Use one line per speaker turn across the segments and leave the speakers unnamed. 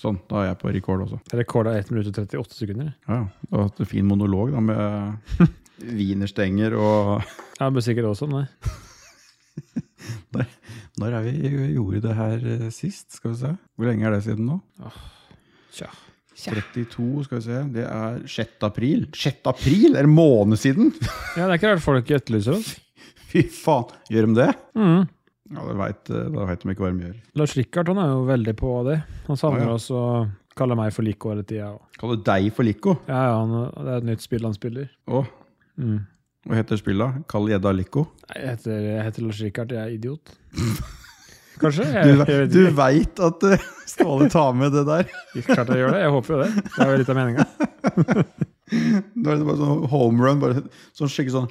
Sånn, da er jeg på rekord også.
Rekorda 1 minutt og 38 sekunder.
Ja, ja. Du har hatt en fin monolog da, med wienerstenger og
Ja, men sikkert også, nei.
Når er vi gjorde det her eh, sist? Skal vi se. Hvor lenge er det siden nå?
Tja.
32, skal vi se. Det er 6. april. 6. april? Er det en måned siden?
Ja, det er ikke rart folk etterlyser oss.
Fy faen. Gjør de det?
Mm.
Ja, eh, da veit de ikke hva de gjør.
Lars Rikard han er jo veldig på det. Han savner
Ja, ja.
oss og kaller meg for lik hele tida. og-
Kaller deg for Lico.
Ja, ja, han, det er et nytt spill han spiller.
Å,
Mm.
hva heter spillet? Kall gjedda Lico?
Nei, Jeg, heter, jeg heter Lars Rikard, jeg er idiot. Kanskje? Jeg,
Du,
jeg vet
du
ikke.
veit at eh, Ståle tar med det der?
Klart jeg gjør det. Jeg håper jo det. Det er jo litt av meninga.
Nå er det bare sånn home run. Bare sånn skikkelig sånn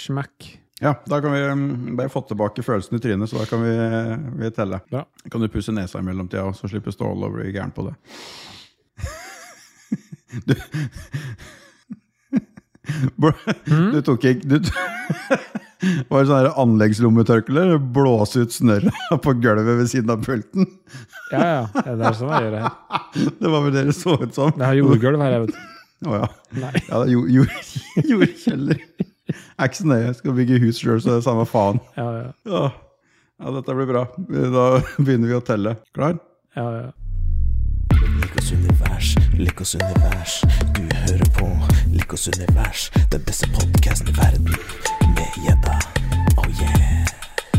Smack.
Ja, da kan vi mm, bare få tilbake følelsen i trynet, så da kan vi, eh, vi telle.
Bra.
Kan du pusse nesa i mellomtida, og så slipper Ståle å bli gæren på det. Du, Bro, du tok ikke du, t- Var det sånn her anleggslommetørkle? eller Blåse ut snørra på gulvet ved siden av pulten?
Ja, ja. ja, Det er sånn jeg gjør det her.
Det var vel det det så ut som?
Det er jordgulv her, jeg vet.
Å ja.
Nei.
ja det er jord- jord- Jordkjeller. Er ikke så nøye. Skal bygge hus sjøl, så det er samme faen.
Ja, ja.
Ja. ja, dette blir bra. Da begynner vi å telle. Klar?
ja, ja.
Likos univers, Likos univers. Du hører på Likos univers, den beste podkasten i verden. Med gjedda. Oh yeah.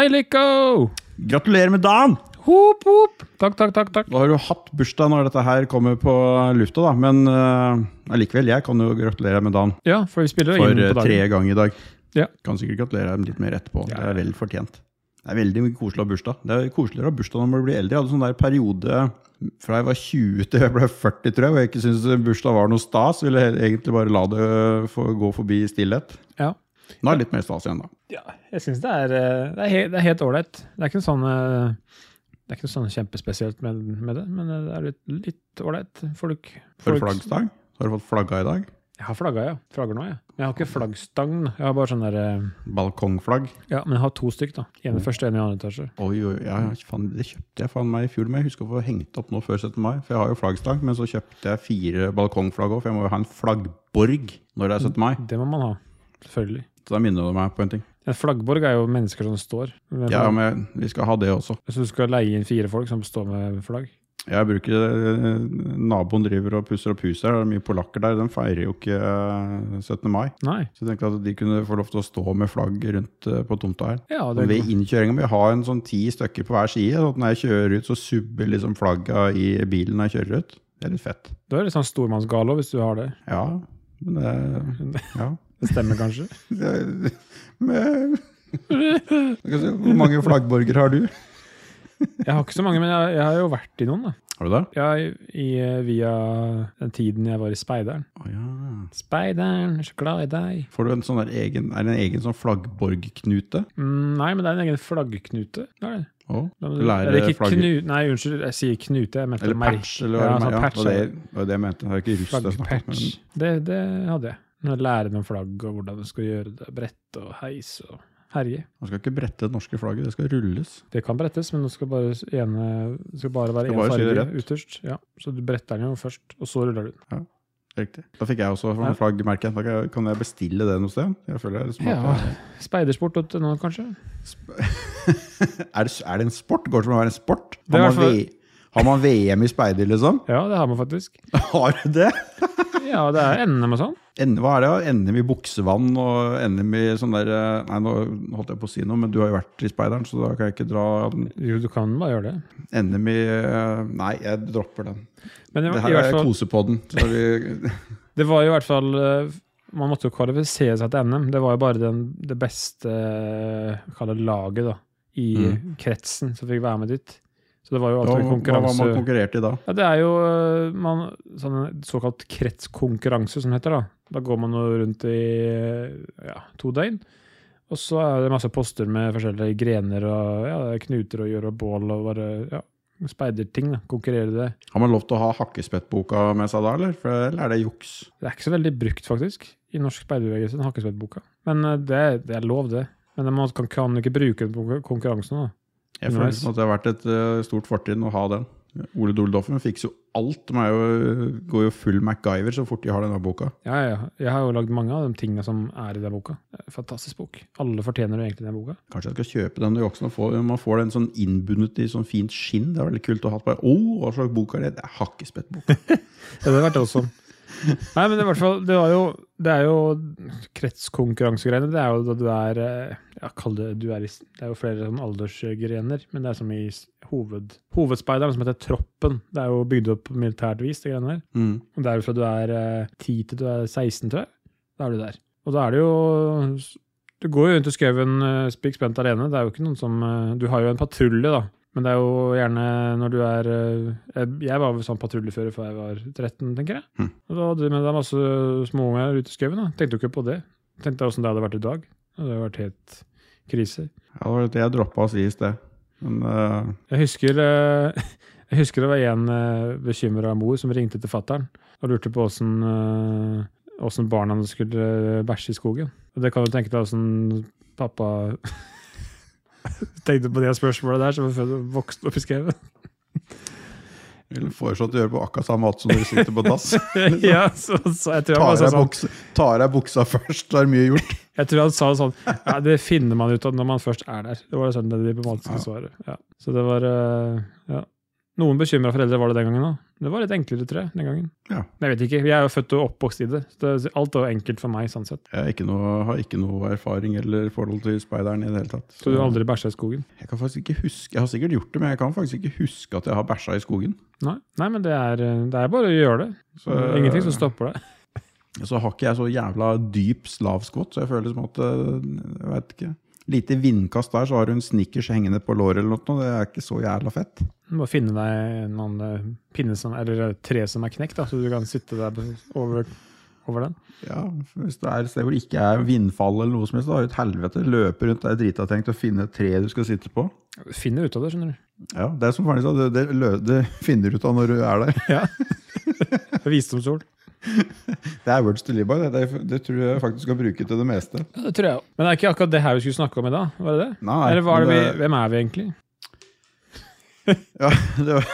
Hei, Lico!
Gratulerer med dagen!
Hop, hop. Takk, takk, takk. takk.
Da har du hatt bursdag når dette her kommer på lufta, da. Men eh, allikevel, jeg kan jo gratulere med dagen
Ja, for vi spiller jo
for
inn
eh,
på
tre
dagen.
ganger i dag.
Ja.
Kan sikkert gratulere dem litt mer etterpå.
Ja,
Det
ja.
er vel fortjent. Det er veldig koselig å ha bursdag. Det er koseligere å ha bursdag når man blir eldre. Jeg hadde sånn der periode fra jeg var 20 til jeg ble 40, tror jeg, og jeg ikke syntes bursdag var noe stas. Ville jeg egentlig bare la det få gå forbi i stillhet.
Ja.
Nå er det litt mer stas igjen, da.
Ja, jeg syns det er eh, Det er, he det er helt ålreit. Det er ikke noe sånn eh, Det er ikke noe sånn kjempespesielt med, med det, men eh, det er litt- litt ålreit. Folk,
For
folk-
flaggstang? Har du fått flagga i dag?
Jeg har flagga, ja. Flagger nå, jeg. Ja. Men jeg har ikke flaggstang. da. Jeg har bare sånn der eh,
Balkongflagg?
Ja, men jeg har to stykk, da. En
Mm.
i første, en i andre etasje.
Oi, oi, ja, ja, faen, Det kjøpte jeg faen meg i fjor, men jeg husker å få hengt opp nå før 17. mai. For jeg har jo flaggstang, men så kjøpte jeg fire balkongflagg òg, for jeg må jo ha en flaggborg når det er 17. mai.
Det må man ha. Selvfølgelig.
Så da minner du meg på en ting.
En flaggborg er jo mennesker som står. Med
Ja,
flagg.
men vi skal ha det også.
Så du skal leie inn fire folk som står med flagg?
Jeg bruker eh, Naboen driver og pusser opp huset her, det er mye polakker der. De feirer jo ikke eh, 17. mai.
Nei.
Så jeg tenkte at de kunne få lov til å stå med flagg rundt eh, på tomta her.
Ja,
Og
det
Ved innkjøringa må jeg ha en sånn ti stykker på hver side. Sånn at når jeg kjører ut, så subber liksom flagga i bilen når jeg kjører ut. Det er litt fett.
Du er litt sånn stormannsgalo hvis du har det.
Ja, men det Ja.
Det stemmer kanskje?
Det- Men, Du kan si, hvor mange flaggborger har du?
Jeg har ikke så mange, men jeg, jeg har jo vært i noen, da.
Har du det?
Jeg, i, eh, via den tiden jeg var i Speideren.
Å ja.
Speideren, jeg er så glad i deg.
Får du en sånn der egen, er det en egen sånn flaggborgknute?
Mm, nei, men det er en egen flaggknute. Det er det.
Å,
Da må
Du
du-
lærer
eller ikke
flagget.
knu- Nei, unnskyld, jeg sier knute. Jeg mente
Eller
merke.
patch, eller hva
Ja,
det
sånn
ja,
patch,
var det, var det jeg mente. Det er ikke russ det er snakk om.
Flaggpatch. Det, det hadde jeg. Når jeg lærer om flagg og hvordan du skal gjøre det. Brette og heis og herje.
Man skal ikke brette det norske flagget, det skal rulles.
Det kan brettes, men det skal bare, ene, det skal bare være
Skal
én
bare sy det
farge
rett.
ytterst. Ja. Så du bretter den jo først, og så ruller du den.
Riktig. Da fikk jeg også
Ja.
sånn flaggmerke. Da kan jeg- Kan jeg bestille det noe sted? Jeg føler liksom at
Ja,
jeg-
Speidersport.no, kanskje?
Er det, er det en sport? Går det som å være en sport?
Det er
Har man,
i hvert
v, har man VM i speider, liksom?
Ja, det har man faktisk.
Har du det?
Ja, det er NM og sånn.
N, hva er det? da? NM i buksevann og NM i sånn der eh, Nei, nå holdt jeg på å si noe, men du har jo vært i speideren, så da kan jeg ikke dra den.
Jo, du kan bare gjøre det.
NM i eh, Nei, jeg dropper den.
Men i,
Det
i
her
hvert
er
fall,
kosepodden. Så er vi,
det var jo i hvert fall eh, Man måtte jo kvalifisere seg til NM. Det var jo bare den, det beste eh, kall det laget da, i
Mm.
kretsen som fikk være med dit. Så det var jo
da, hva
alltid en
var man
konkurranse.
konkurrert i da?
Ja, det er jo eh, man, sånn, en såkalt kretskonkurranse, som det heter. Da Da går man jo rundt i eh, ja, to døgn. Og så er det masse poster med forskjellige grener og ja, det er knuter og gjøre bål og bare ja, speiderting. da, Konkurrere i det.
Har man lov til å ha hakkespettboka med seg da, eller, For, eller er det juks?
Det er ikke så veldig brukt, faktisk, i norsk speiderbevegelse, den hakkespettboka. Men eh, det, det er lov, det. Men man kan, kan ikke bruke den på konkurransen. da.
Jeg
Nice.
føler at det har vært et eh, stort fortrinn å ha den. Ole Doldoffen fikser jo alt. De er jo, går jo full MacGyver så fort de har denne boka.
Ja, ja. Jeg har jo lagd mange av de tingene som er i den boka. Fantastisk bok. Alle fortjener jo egentlig den boka.
Kanskje jeg skal kjøpe den du voksen og få man får den sånn innbundet i sånn fint skinn. Det er veldig kult å ha på. Å, hva slags bok er det? Det er hakkespettbok.
Det hadde vært awesome. Nei, men i hvert fall, det, var jo, det er jo kretskonkurransegreiene. Det er jo da du er eh, ja, kall det, du er i, s- det er jo flere sånn aldersgrener, men det er som i s- hoved, hovedspeideren, som heter Troppen. Det er jo bygd opp på militært vis, de greiene der.
Mm.
Og det er jo fra du er eh, 10 til du er 16, tror jeg. Da er du der. Og da er det jo Du går jo rundt i skauen eh, spikk spent alene. Det er jo ikke noen som eh, Du har jo en patrulje, da. Men det er jo gjerne når du er eh, jeg- Jeg var vel sånn patruljefører før jeg var 13, tenker jeg.
Hm.
Og da hadde vi med deg masse småunger ute i skauen. da. Tenkte jo ikke på det. Tenkte åssen det hadde vært i dag. Det hadde jo vært helt krise.
Ja, det var det jeg droppa å si i sted. Men eh,
Jeg husker, eh, jeg husker det var en bekymra mor som ringte til fattern og lurte på åssen eh, åssen barna skulle eh, bæsje i skogen. Og det kan du tenke deg åssen pappa tenkte på det spørsmålet der, som var født og vokst opp i skauen.
jeg ville foreslått å gjøre på akkurat samme måte som når du sitter på dass.
ja, så, så jeg, tror
Tar
han bare sa
av
sånn,
buksa, tar av buksa først, da er mye gjort.
jeg tror han sa sånn Nei, det finner man ut av når man først er der. Det var sånn det diplomatiske
Ja.
svaret. Ja. Så det var eh, ja. Noen bekymra foreldre var det den gangen òg. Det var litt enklere, tror jeg. den gangen.
Ja.
Men Jeg vet ikke. Jeg er jo født og oppvokst i det. Så det alt er jo enkelt for meg, sånn sett.
Jeg er ikke noe, har ikke noe erfaring eller forhold til speideren i det hele tatt.
Så du har aldri bæsja i skogen?
Jeg kan faktisk ikke huske, jeg har sikkert gjort det, men jeg kan faktisk ikke huske at jeg har bæsja i skogen.
Nei, Nei men det er, eh, det er bare å gjøre det.
Så,
Mm,
eh,
Ingenting som stopper deg.
Så har ikke jeg så jævla dyp slavskvott, så jeg føler som at eh, Jeg vet ikke. Lite vindkast der, så har hun snickers hengende på låret eller noe. Det er ikke så jævla fett.
Du må finne deg noen eh, pinne som, eller eh, tre som er knekt, da, så du kan sitte der på- over, over den.
Ja, for Hvis det er et sted hvor det ikke er vindfall eller noe som helst, da har du et helvete. Løpe rundt der drita tenkt å finne et tre du skal sitte på.
Finner ut av det, skjønner du.
Ja, Det er som faren din sa, det, det, lø- det finner du ut av når du er der.
Ja. Visdomsord.
Det er words to live by. Det, det, det tror jeg faktisk skal bruke til det meste.
Ja, det tror jeg òg. Men det er ikke akkurat det her vi skulle snakke om i dag? Var det det?
Nei,
eller var det vi,
men det-
hvem er vi egentlig?
Ja, det var,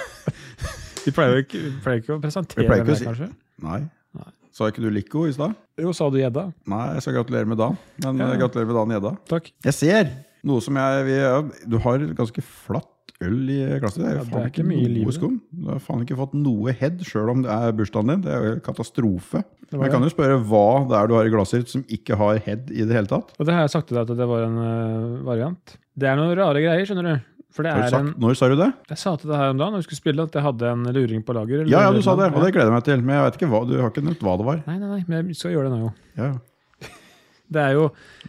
Vi pleier jo ikke, vi pleier ikke å presentere
Vi pleier ikke
hvem
å
vi er, kanskje?
nei.
Nei.
Sa ikke du Lico i stad?
Jo, sa du gjedda?
Nei, jeg skal gratulere med dagen. Men
Ja.
eh, gratulerer med dagen, Gjedda.
Takk.
Jeg ser noe som jeg vi, ja, Du har et ganske flatt øl i glasset. Det er,
Ja, det
faen
er ikke
ikke
mye i
noe
livet.
skum. Du har faen ikke fått noe head, sjøl om det er bursdagen din. Det er jo en katastrofe.
var
Men jeg kan jo spørre hva det er du har i glasset ditt som ikke har head i det hele tatt.
Og det har jeg sagt til deg at det var en eh, variant. Det er noen rare greier, skjønner du. For det
Har du
er en,
sagt, når sa du det?
jeg sa til deg her om dagen når vi skulle spille, at jeg hadde en luring på lager. eller
Ja, ja, du
luring
sa det,
på-
og det gleder jeg meg til. Men jeg vet ikke hva, du har ikke nevnt hva det var.
Nei, nei, nei, men jeg skal gjøre det nå, jo.
Ja.
Det er jo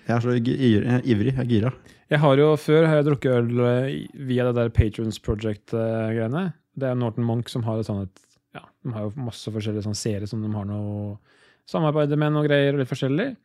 Jeg er så gi- gir- jeg er ivrig. Jeg er gira.
Jeg har jo før har jeg drukket øl eh, i- via det der Patrons Project-greiene. Det er Norton Monk som har et sånt et Ja, de har jo masse forskjellige sånne serier som de har noe samarbeid med noe greier og litt forskjellig.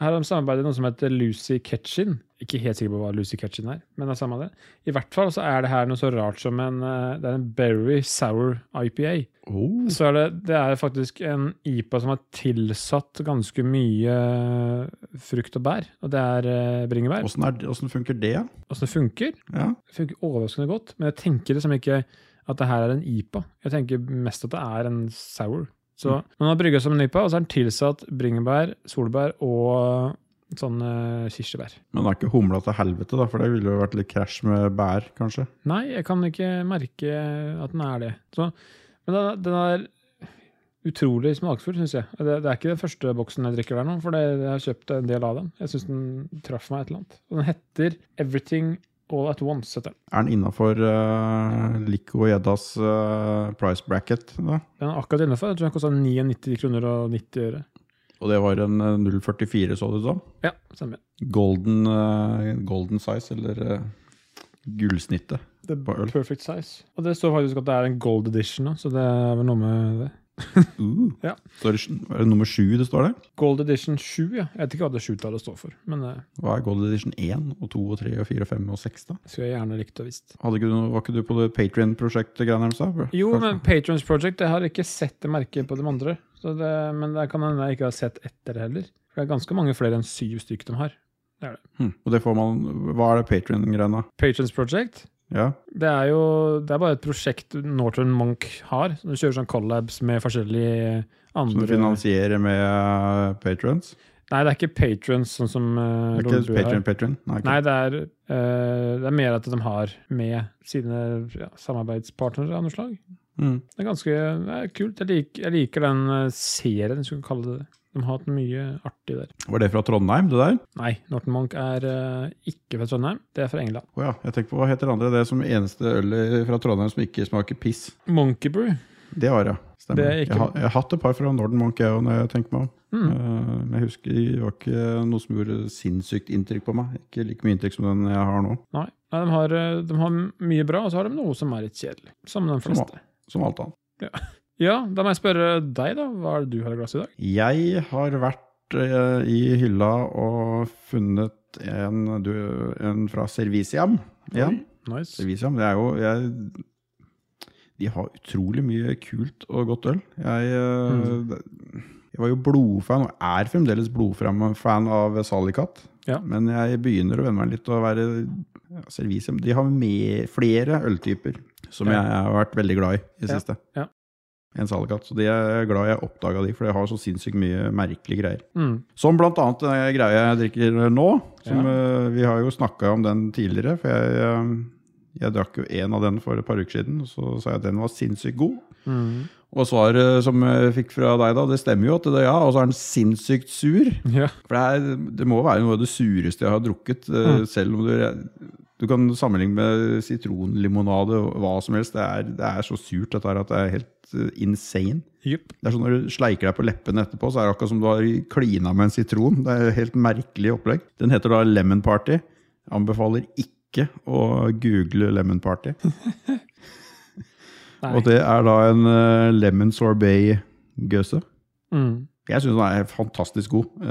Her har de samarbeidet med noe som heter Lucy Ketchin. Ikke helt sikker på hva Lucy Ketchin er, men det er samme det. I hvert fall så er det her noe så rart som en eh, Det er en Berry Sour IPA.
Oh.
Så er det, det er faktisk en IPA som har tilsatt ganske mye eh, frukt og bær, og det er eh, bringebær.
Åssen er det- åssen funker det? ja?
Åssen det funker?
Ja.
Det funker overraskende godt, men jeg tenker liksom ikke at det her er en IPA. Jeg tenker mest at det er en sour. Så man har brygga som en IPA, og så er den tilsatt bringebær, solbær og sånn eh, kirsebær.
Men det er ikke humla til helvete, da, for det ville jo vært litt krasj med bær, kanskje.
Nei, jeg kan ikke merke at den er det. Så, men den, den er utrolig smakfull, syns jeg. Det, det er ikke den første boksen jeg drikker der nå, for det, jeg har kjøpt en del av dem. Jeg syns den traff meg et eller annet. Og den heter Everything All At Once. heter den.
Er den innafor uh, Lico og Gjeddas eh, price bracket? Da?
Den er akkurat innenfor. Jeg tror den kosta 99 kroner og 90 øre.
Og det var en eh, 044, så det ut som.
Ja, stemmer.
Golden, eh, golden size, eller eh, gullsnittet.
The
På øl.
perfect size. Og det står faktisk at det er en gold edition, da, så det er vel noe med det.
Uh.
Ja.
Står det, er det nummer sju det står der?
Gold edition 7, ja. Jeg vet ikke hva det sjutallet står for, men eh, det
Hva er Gold Edition 1 og 2 og 3 og 4 og 5 og 6, da?
skulle jeg gjerne likt å visst.
Hadde ikke du, noe- var ikke du på det Patrion-prosjektet? greiene deres da?
Jo, men Patrons Project, jeg har ikke sett det merket på de andre. Så det, men det kan hende jeg ikke har sett etter det heller. For det er ganske mange flere enn syv stykker de har.
Hm. Og det får man, Hva er det Patrion-greiene?
Patrons Project,
Ja.
Det er jo det er bare et prosjekt Northern Monk har. så Du kjører sånn collabs med forskjellige
Som du
andre
finansierer med eh, patrons?
Nei, det er ikke patrons, sånn som uh,
Det er ikke patron, patron? Nei, ikke.
Nei, det er, eh, det er mer at de har med sine ja, samarbeidspartnere av noe slag.
Mm.
Det er ganske det er kult. Jeg, lik, jeg liker den eh, serien, hvis du kan kalle det det. De har hatt mye artig der.
Var det fra Trondheim, det der?
Nei, Norton Monk er eh, ikke fra Trondheim, det er fra England.
Å ja. Jeg tenker på hva heter det andre? Det er som eneste ølet fra Trondheim som ikke smaker piss.
Monkey Brew.
Det har jeg. Stemmer.
Det er ikke-
jeg, har, jeg har hatt et par fra Norden Monk, jeg òg, når jeg tenker meg om.
Mm.
Eh, Men jeg husker det var ikke noe som gjorde sinnssykt inntrykk på meg. Ikke like mye inntrykk som den jeg har nå.
Nei, Nei de, har, eh, de har mye bra, og så har de noe som er litt kjedelig. Som de
Som
fleste.
Som alt annet.
Ja, da må jeg spørre deg, da. Hva er det du har i glasset i dag?
Jeg har vært eh, i hylla og funnet en, du, en fra Serviciam. Igjen.
Nice.
Serviciam, det er jo jeg, De har utrolig mye kult og godt øl. Jeg, eh,
Mm.
det- jeg var jo blodfan, og er fremdeles blodfan av Salikat.
Ja.
Men jeg begynner å venne meg litt til å være ja, Serviciam. De har med flere øltyper som
Ja.
jeg har vært veldig glad i i det
Ja,
siste.
ja.
En Salikat. Så de er glad jeg oppdaga de, for de har så sinnssykt mye merkelige greier.
Mm.
Som blant annet den greia jeg drikker nå. Som,
Ja.
eh, vi har jo snakka om den tidligere, for jeg, eh, jeg drakk jo en av den for et par uker siden. og Så sa jeg at den var sinnssykt god.
Mm.
Og svaret som jeg fikk fra deg da, det stemmer jo at det ja, og så er den sinnssykt sur.
Ja.
For det, er, det må være noe av det sureste jeg har drukket, eh, selv om du du kan sammenligne med sitronlimonade og hva som helst. Det er, det er så surt dette her at det er helt eh, insane.
Jupp.
Det er sånn Når du sleiker deg på leppene etterpå, så er det akkurat som du har klina med en sitron. Det er et helt merkelig opplegg. Den heter da Lemon Party. Jeg anbefaler ikke å google Lemon Party.
Nei.
Og det er da en eh, lemon sorbet-gøse.
Mm.
Jeg syns den er fantastisk god. Eh,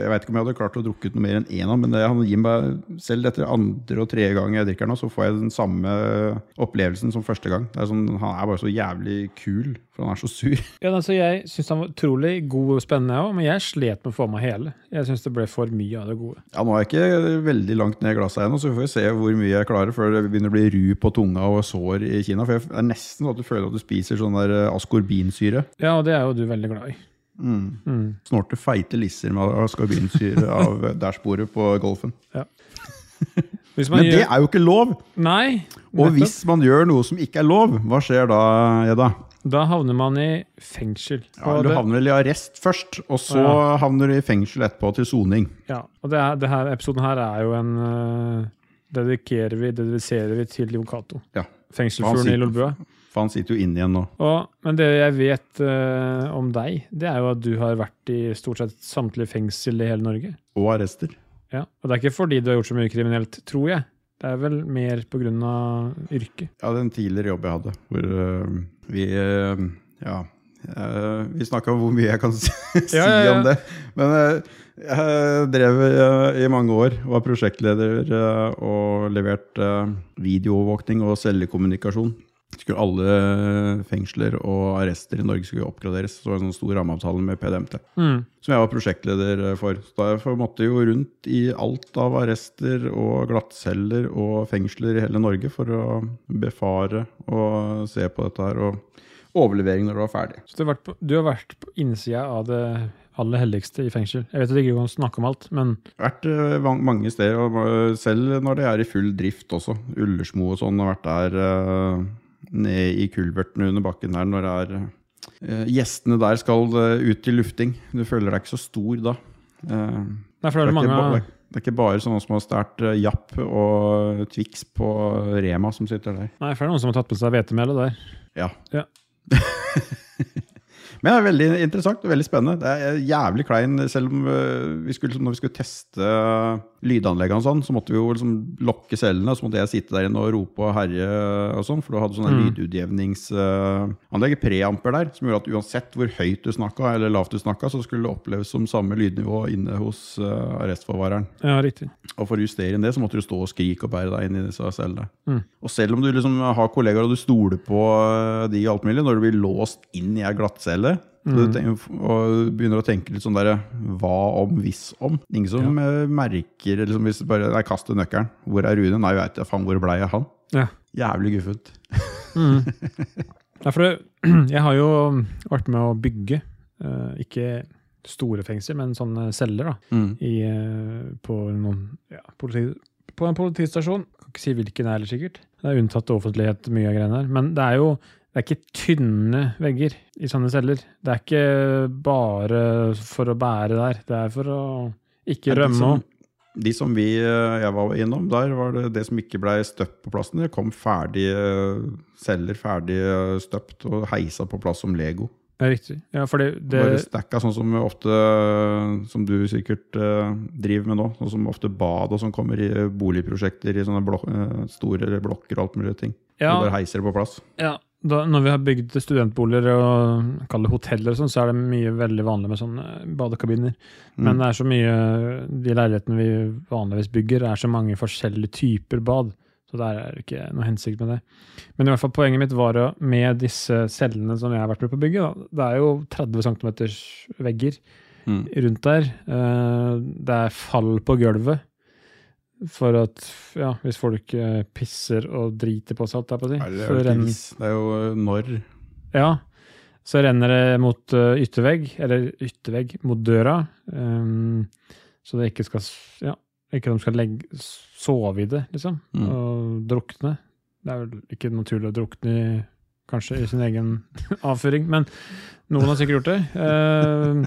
jeg veit ikke om jeg hadde klart å drukke ut noe mer enn én av den, men det, han gir meg, selv etter andre og tredje gang jeg drikker den, nå, så får jeg den samme eh, opplevelsen som første gang. Det er sånn, han er bare så jævlig kul, for han er så sur.
Ja, altså jeg syns den var utrolig god og spennende, jeg også, men jeg slet med å få meg hele. Jeg syns det ble for mye av det gode.
Ja, Nå er jeg ikke veldig langt ned i glasset ennå, så vi får se hvor mye jeg klarer før det begynner å bli ru på tunga og sår i Kina. For jeg- det er nesten sånn at du føler at du spiser sånn der eh, askorbinsyre.
Ja, og det er jo du veldig glad i. Mm.
Snorte feite lisser med askorbinsyre av eh, dashbordet på golfen.
Hvis man
Men det
gjør
er jo ikke lov!
Nei!
Og
nettopp.
hvis man gjør noe som ikke er lov, hva skjer da, Edda?
Da havner man i fengsel.
Ja,
og
du
det,
havner vel i arrest først, og så
Ja.
havner du i fengsel etterpå til soning.
ja, og det er, det her, episoden her er jo en eh, Dedikerer vi, dediserer vi til Jon Cato.
Ja. Han
Fengselfuglen
sitter-
i Lolbua.
For han sitter jo inne igjen nå.
Og- Men det jeg vet eh, om deg, det er jo at du har vært i stort sett samtlige fengsel i hele Norge.
Og arrester.
Ja, og det er ikke fordi du har gjort så mye kriminelt, tror jeg. Det er vel mer på grunn av yrket.
Ja, det er en tidligere jobb jeg hadde, hvor øh, vi øh, Ja. øh, vi snakka om hvor mye jeg kan si, si
Ja, ja, ja.
om det. Men øh, jeg drev øh, i mange år, var prosjektleder øh, og leverte øh, videoovervåkning og cellekommunikasjon. Skulle alle eh, fengsler og arrester i Norge skulle oppgraderes. Så var det en sånn stor rammeavtale med PDMT som jeg var prosjektleder eh, for. Så Derfor måtte jeg jo rundt i alt av arrester og glattceller og fengsler i hele Norge for å befare og se på dette her, og overlevering når det var ferdig.
Så du har, vært på, du har vært på innsida av det aller helligste i fengsel. Jeg vet at jeg ikke kan snakke om alt, men
Jeg har vært eh, van- mange steder, og eh, selv når det er i full drift også. Ullersmo og sånn har vært der eh, nede i kulverten under bakken her når det er eh, Gjestene der skal eh, ut til lufting. Du føler deg ikke så stor da. Eh,
Nei,
Det
for det
er,
er det mange
ikke, ba- det, er, det er ikke bare sånne som har stært eh, Japp og Twix på Rema som sitter der.
Nei, for det er noen som har tatt på seg hvetemelet der.
Ja.
Ja.
Men det er veldig interessant og veldig spennende. Det er eh, jævlig klein, selv om eh, vi skulle, når vi skulle teste eh, lydanleggene og sånn, så måtte vi jo liksom lokke cellene, og så måtte jeg sitte der inne og rope og herje og sånn, for du hadde sånne
Mm.
lydutjevningsanlegg, preamper der, som gjorde at uansett hvor høyt du snakka eller lavt du snakka, så skulle det oppleves som samme lydnivå inne hos eh, arrestforvareren.
Ja, riktig.
Og for å justere inn det, så måtte du stå og skrike og bære deg inn i disse cellene.
Mm.
Og selv om du liksom har kollegaer og du stoler på øh, de i alt mulig, når du blir låst inn i ei glattcelle så du tenker- og begynner å tenke litt sånn derre hva om, hvis om eh, Ingen som øh, merker liksom, hvis du bare Nei, kast nøkkelen. Hvor er Rune? Nei, veit jeg faen, hvor blei jeg han?
Ja.
Jævlig guffent.
Mm. Ja, for det, jeg har jo vært med å bygge, eh, ikke store fengsel, men sånne celler da,
Mm.
i, eh, på, noen, ja, politi, på en politistasjon. Kan ikke si hvilken heller, sikkert. Det er unntatt offentlighet, mye av greiene her. Men det er jo det er ikke tynne vegger i sånne celler. Det er ikke bare for å bære der. Det er for å ikke
Men
liksom-
de
rømme.
som- De som vi, eh, jeg var innom der, var det det som ikke ble støpt på plassen. Det kom ferdige celler, ferdig eh, støpt og heisa på plass som Lego.
Ja, riktig. Ja, fordi det,
Bare stacka sånn som ofte eh, Som du sikkert eh, driver med nå. Sånn som ofte bad og sånn kommer i eh, boligprosjekter i sånne blok eh, store blokker og alt mulig ting.
ja,
Du bare heiser det på plass.
Ja, da, når vi har bygd studentboliger og kaller det hoteller og sånn, så er det mye veldig vanlig med sånne badekabiner.
Mm.
Men det er så mye De leilighetene vi vanligvis bygger, er så mange forskjellige typer bad. Så der er det ikke noe hensikt med det. Men i hvert fall poenget mitt var å- med disse cellene som jeg har vært med på å bygge, da, det er jo 30 cm vegger
Mm.
rundt der. Eh, Det er fall på gulvet. For at, ja, hvis folk eh, pisser og driter på seg, alt der på å si,
Er det,
så
er det,
renner-
ikke is? det er jo eh, når
ja. Så renner det mot eh, yttervegg, eller yttervegg, mot døra. ehm, så det ikke skal s- Ja, ikke de skal legge, s- sove i det, liksom.
Mm.
Og drukne. Det er vel ikke naturlig å drukne i kanskje i sin egen avføring, men noen har sikkert gjort det. Ehm,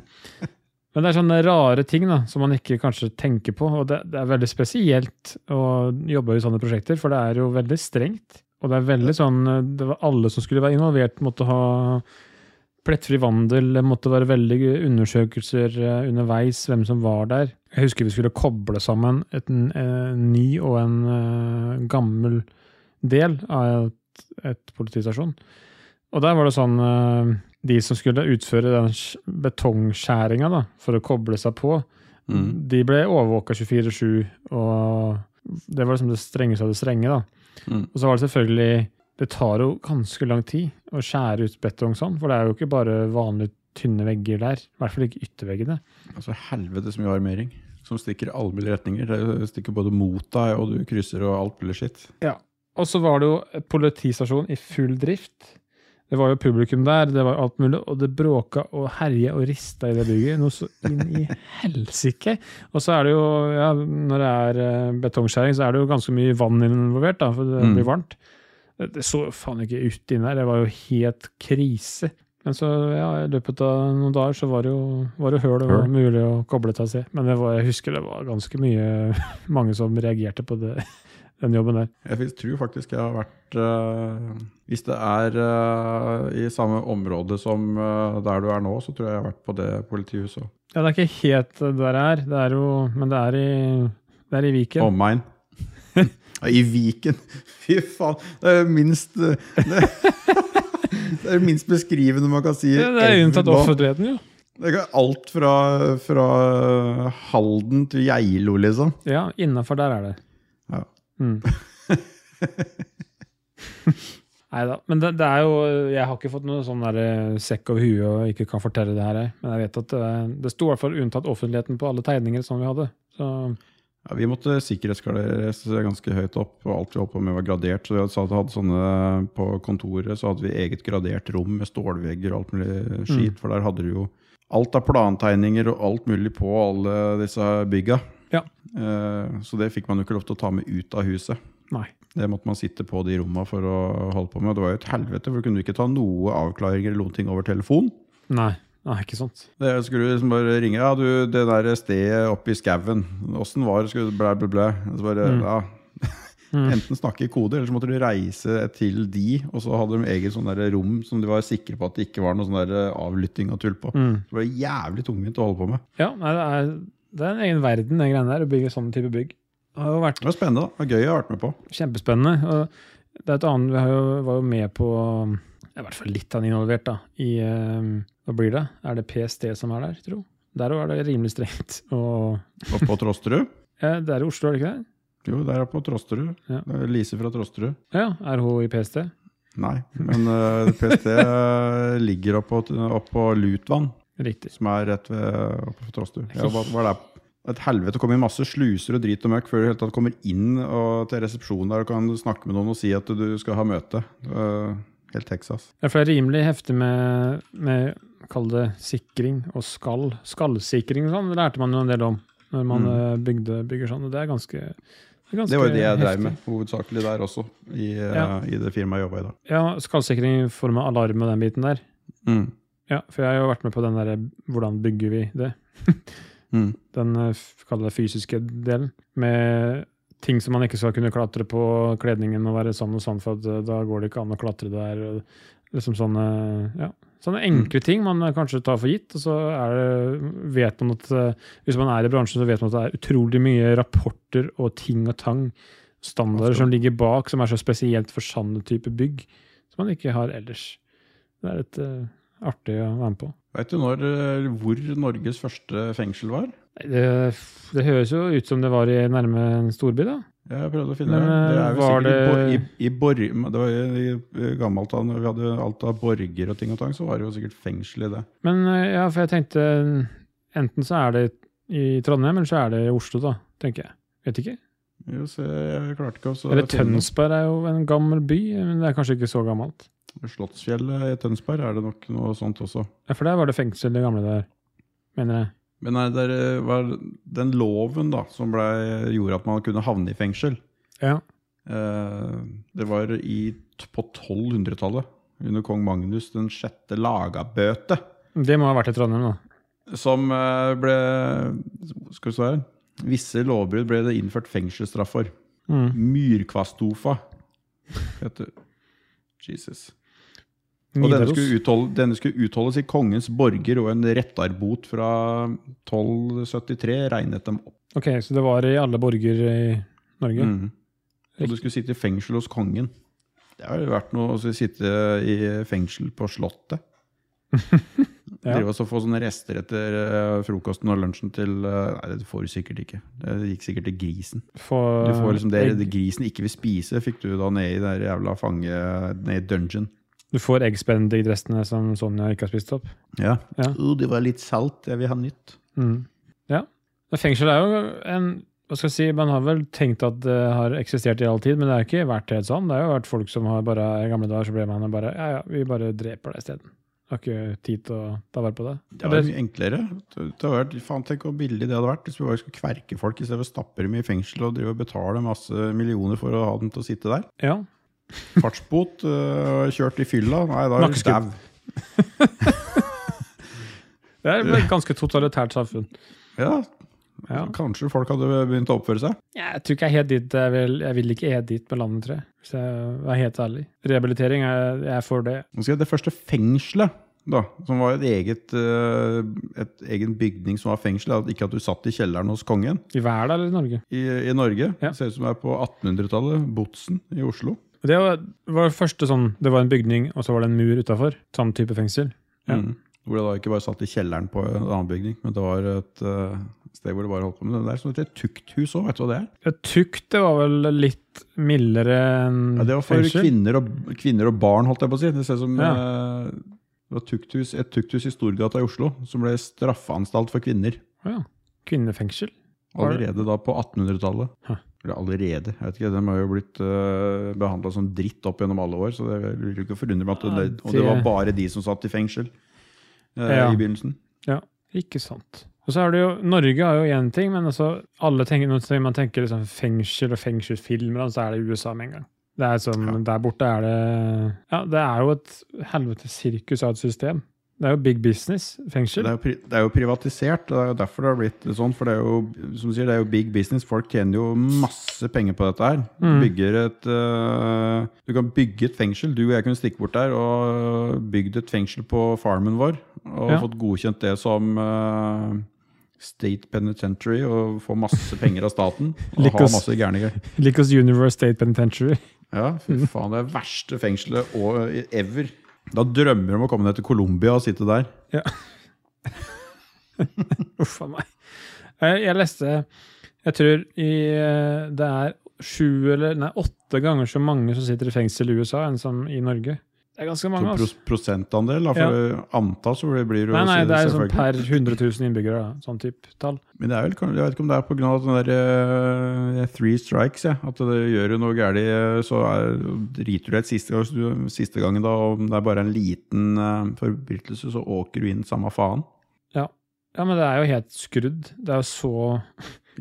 men det er sånne rare ting da, som man ikke kanskje tenker på, og det, det er veldig spesielt å jobbe i sånne prosjekter, for det er jo veldig strengt. Og det er veldig sånn, eh, det var alle som skulle være involvert, måtte ha plettfri vandel, det måtte være veldig undersøkelser eh, underveis, hvem som var der. Jeg husker vi skulle koble sammen et, en eh, ny og en eh, gammel del av et, et politistasjon. Og der var det sånn eh, De som skulle utføre den sk- betongskjæringa da, for å koble seg på,
mm.
de ble overvåka 24-7, og det var liksom det strengeste av det strenge. da.
Mm.
Og så var det selvfølgelig Det tar jo ganske lang tid å skjære ut betong sånn, for det er jo ikke bare vanlige tynne vegger der. I hvert fall ikke ytterveggene.
Altså helvetes mye armering. Som stikker i alle mulige retninger. Det stikker både mot deg, og du krysser og alt mulig skitt.
Og så var det jo et politistasjon i full drift. Det var jo publikum der, det var alt mulig, og det bråka og herja og rista i det bygget. Noe så inn i helsike! Og så er det jo, ja, når det er eh, betongskjæring, så er det jo ganske mye vann involvert, da, for det
Mm.
blir varmt. Det det så faen ikke ut inni der, det var jo helt krise. Men så, ja, i løpet av noen dager så var det jo, var det høl og
Høl.
mulig å koble til seg. Men det var, jeg husker det var ganske mye mange som reagerte på det, den jobben der.
Jeg fik- tror faktisk jeg har vært eh, Hvis det er eh, i samme område som eh, der du er nå, så tror jeg jeg har vært på det politihuset. også.
Ja, det er ikke helt der jeg er. Det er jo, men det er i, det er i Viken.
Omegn. Ja, I Viken! Fy faen! Det er jo minst Det, det er det minst beskrivende man kan si.
Det, det er unntatt
Elvebanen.
offentligheten, jo.
Det er alt fra, eh, fra Halden til Geilo, liksom.
Ja, innafor der er det.
Ja.
Mm. Nei da. Men det, det er jo Jeg har ikke fått noe sånn der eh, sekk over huet og ikke kan fortelle det her, jeg. men jeg vet at det, det sto i hvert fall unntatt offentligheten på alle tegninger som vi hadde. Så
Ja, vi måtte sikkerhetsgraderes ganske høyt opp, og alt vi holdt på med var gradert. Så vi hadde, så hadde sånne På kontoret så hadde vi eget gradert rom med stålvegger og alt mulig skit, for der hadde du jo alt av plantegninger og alt mulig på alle disse bygga.
Ja.
Eh, så det fikk man jo ikke lov til å ta med ut av huset.
nei.
Det måtte man sitte på de romma for å holde på med. og Det var jo et helvete, for du kunne jo ikke ta noe avklaringer eller noen ting over telefon.
Nei, nei ikke sant.
Det skulle du liksom bare ringe Ja, du, det der stedet oppe i skauen, åssen var det? Skulle blæ, blæ, blæ. Og så bare,
Mm.
ja.
Mm.
Enten snakke i kode, eller så måtte du reise til de, og så hadde de eget sånn der rom som de var sikre på at det ikke var noe sånn der avlytting og tull på.
Mm.
Det var jævlig tungvint å holde på med.
Ja, nei, det er, det er en egen verden, den greiene der, å bygge sånne type bygg. Det har jo vært
Det var spennende. da. Det var gøy jeg har vært med på.
Kjempespennende. Og det er et annet, Vi har jo, var jo med på I hvert fall litt av den involvert, da. I eh, Hva blir det? Er det PST som er der, tro? Der òg er det rimelig strengt. Og
Oppe på Trosterud.
eh, Det er i Oslo, er det ikke det?
Jo, der er på Trosterud.
Ja.
Det er Lise fra Trosterud.
Ja, er hun i PST?
Nei, men eh, PST eh, ligger oppå opp på Lutvann,
Riktig.
som er rett ved oppe på Trosterud. Jeg var, var der et helvete å komme i masse sluser og drit og møkk før du helt tatt kommer inn og, til resepsjonen der og kan snakke med noen og si at du skal ha møte. Eh, helt Texas.
Ja, for det er rimelig heftig med, med kall det sikring og skall. Skallsikring og sånn, det lærte man jo en del om når man eh, bygde bygger sånn. og Det er ganske, det er ganske
Mm. Det var jo det jeg
heftig.
drev med hovedsakelig der også, i, eh,
Ja.
i det firmaet jeg jobba i da.
Ja, skallsikring i form av alarm og den biten der.
Mm.
Ja, for jeg har jo vært med på den derre hvordan bygger vi det.
Mm.
Den eh, f- kall det fysiske delen. Med ting som man ikke skal kunne klatre på, kledningen må være sånn og sånn, for at eh, da går det ikke an å klatre der. og Liksom sånne, ja. sånne enkle ting man eh, kanskje tar for gitt. Og så er det, vet man at eh, Hvis man er i bransjen, så vet man at det er utrolig mye rapporter og ting og tang. Standarder
Ofte.
som ligger bak, som er så spesielt for sanne type bygg. Som man ikke har ellers. Det er litt eh, artig å være med på.
Veit du når, eh, hvor Norges første fengsel var?
Nei, Det, det høres jo ut som det var i nærme en storby, da.
Jeg prøvde å finne
Men,
det. Det er jo
var
sikkert i Bor-
det-
i, i Bor... Det var i, i gammelt da når vi hadde alt av borger og ting og tang, så var det jo sikkert fengsel i det.
Men eh, ja, for jeg tenkte enten så er det i Trondheim, eller så er det i Oslo, da, tenker jeg. Vet ikke.
Jo, så jeg klarte ikke også å
Eller
finne
Tønsberg er jo en gammel by, men det er kanskje ikke så gammelt.
noe. Slottsfjellet i Tønsberg er det nok noe sånt også.
Ja, For der var det fengsel, det gamle der, mener jeg.
Men nei, det er- var den loven da, som ble, gjorde at man kunne havne i fengsel,
Ja.
eh, det var i, på 1200-tallet, under kong Magnus den sjette lagabøte.
Det må ha vært i Trondheim, da.
som eh, ble Skal vi stå her? Visse lovbrudd ble det innført fengselsstraff for.
Mm.
Myrkvastofa. Heter Jesus. Og denne
Nidaros.
skulle, utholde, denne skulle utholdes i kongens borger og en rettarbot fra 1273 regnet dem opp.
Ok, så det var i alle borger i Norge.
Mhm. Og du skulle sitte i fengsel hos kongen. Det har jo vært noe å sitte i fengsel på Slottet.
Ja.
Drive oss og få sånne rester etter eh, frokosten og lunsjen til eh, Nei, det får du sikkert ikke. Det gikk sikkert til grisen.
For,
Du får liksom det, det
egg,
grisen ikke vil spise, fikk du da ned i det der jævla fange... Ned i dungeon.
du får egg Benedict-restene som Sonja ikke har spist opp.
Ja.
Ja.
Uh, det var litt salt, jeg vil ha nytt.
Mm. Ja. Men fengsel er jo en hva skal jeg si, Man har vel tenkt at det har eksistert i all tid, men det har ikke vært helt sånn. Det har jo vært folk som har bare i gamle dager så ble man bare Ja, ja, vi bare dreper deg isteden. Har ikke tid til å ta vare på det.
Det var mye enklere. Det det hadde vært, faen, tenk hvor billig det hadde vært hvis vi bare skulle kverke folk i stedet for å stappe dem i fengsel og drive og betale masse millioner for å ha dem til å sitte der.
ja.
Fartsbot, øh, kjørt i fylla. Nei, da er du
Nakkeskudd.
dau.
Det er et ganske totalitært samfunn.
Ja,
Ja.
kanskje folk hadde begynt å oppføre seg.
Jeg tror ikke jeg er helt dit. Jeg vil, jeg vil ikke helt dit med landet, tror jeg. Hvis jeg er helt ærlig. Rehabilitering, er, jeg er for det.
Nå skal jeg- Det første fengselet, da, som var et eget, øh, et egen bygning som var fengsel, at- ikke at du satt i kjelleren hos kongen
I Verda eller i Norge.
i, i Norge.
Ja.
Ser ut som det er på 1800-tallet. Botsen i Oslo.
Det var, var det første sånn Det var en bygning, og så var det en mur utafor. Sånn type fengsel. Ja.
Mm. Hvor det da ikke bare satt i kjelleren på en annen bygning, men det var et øh, sted hvor det bare holdt på med det. Det er som et tukthus òg, vet du hva det er?
Ja, tukt det var vel litt mildere enn
Ja, det var for kvinner og, kvinner og barn, holdt jeg på å si. Det ser ut som
Ja.
eh, det var tukthus, et tukthus i Storgata i Oslo som ble straffeanstalt for kvinner.
Å ja. Kvinnefengsel? Var det-
Allerede da på 1800-tallet.
Hæ.
Eller allerede, jeg vet ikke. De har jo blitt uh, behandla som dritt opp gjennom alle år. Så det vil ikke forundre meg at det,
Ja,
Og det var
det-
bare de som satt i fengsel eh,
Ja.
i begynnelsen.
Ikke sant. Og så er det jo, Norge har jo én ting, men altså, alle tenker, når man tenker liksom fengsel og fengselsfilmer, så er det USA med en gang. Det er som,
Ja.
Der borte er det Ja, det er jo et helvetes sirkus av et system. Det er jo big business,
Det
fengsel.
er, jo pri det er jo privatisert, og det er jo derfor det har blitt sånn. For det er jo som du sier, det er jo big business. Folk tjener jo masse penger på dette her.
Mm.
Bygger et eh, Du kan bygge et fengsel. Du og jeg kunne stikke bort der og bygd et fengsel på farmen vår. Og
Ja.
fått godkjent det som eh, State Penitentiary og få masse penger av staten. Og ha
Lykkes.
masse gærninger.
Likos Universe State Penitentiary.
Ja, fy
Mm.
faen. Det er verste fengselet og- eh, ever. Da drømmer de om å komme ned til Colombia og sitte der.
Uff a meg. Jeg, jeg leste Jeg tror i, eh, det er sju eller nei, åtte ganger så mange som sitter i fengsel i USA enn som i Norge. Det er ganske
Så
mange,
pros
altså.
prosentandel, da, for antall så blir det jo
Nei, nei, det er sånn
selvfølgelig-
per 100 000 innbyggere, da. sånn type tall.
Men det er vel, kan- jeg vet ikke om det er pga. den der sånn eh, three strikes, jeg. At det gjør du noe galt, så er, driter du deg ut siste, gang- siste gangen, da. Om det er bare en liten eh, forbrytelse, så åker du inn samme faen.
Ja, men det er jo helt skrudd. Det er jo så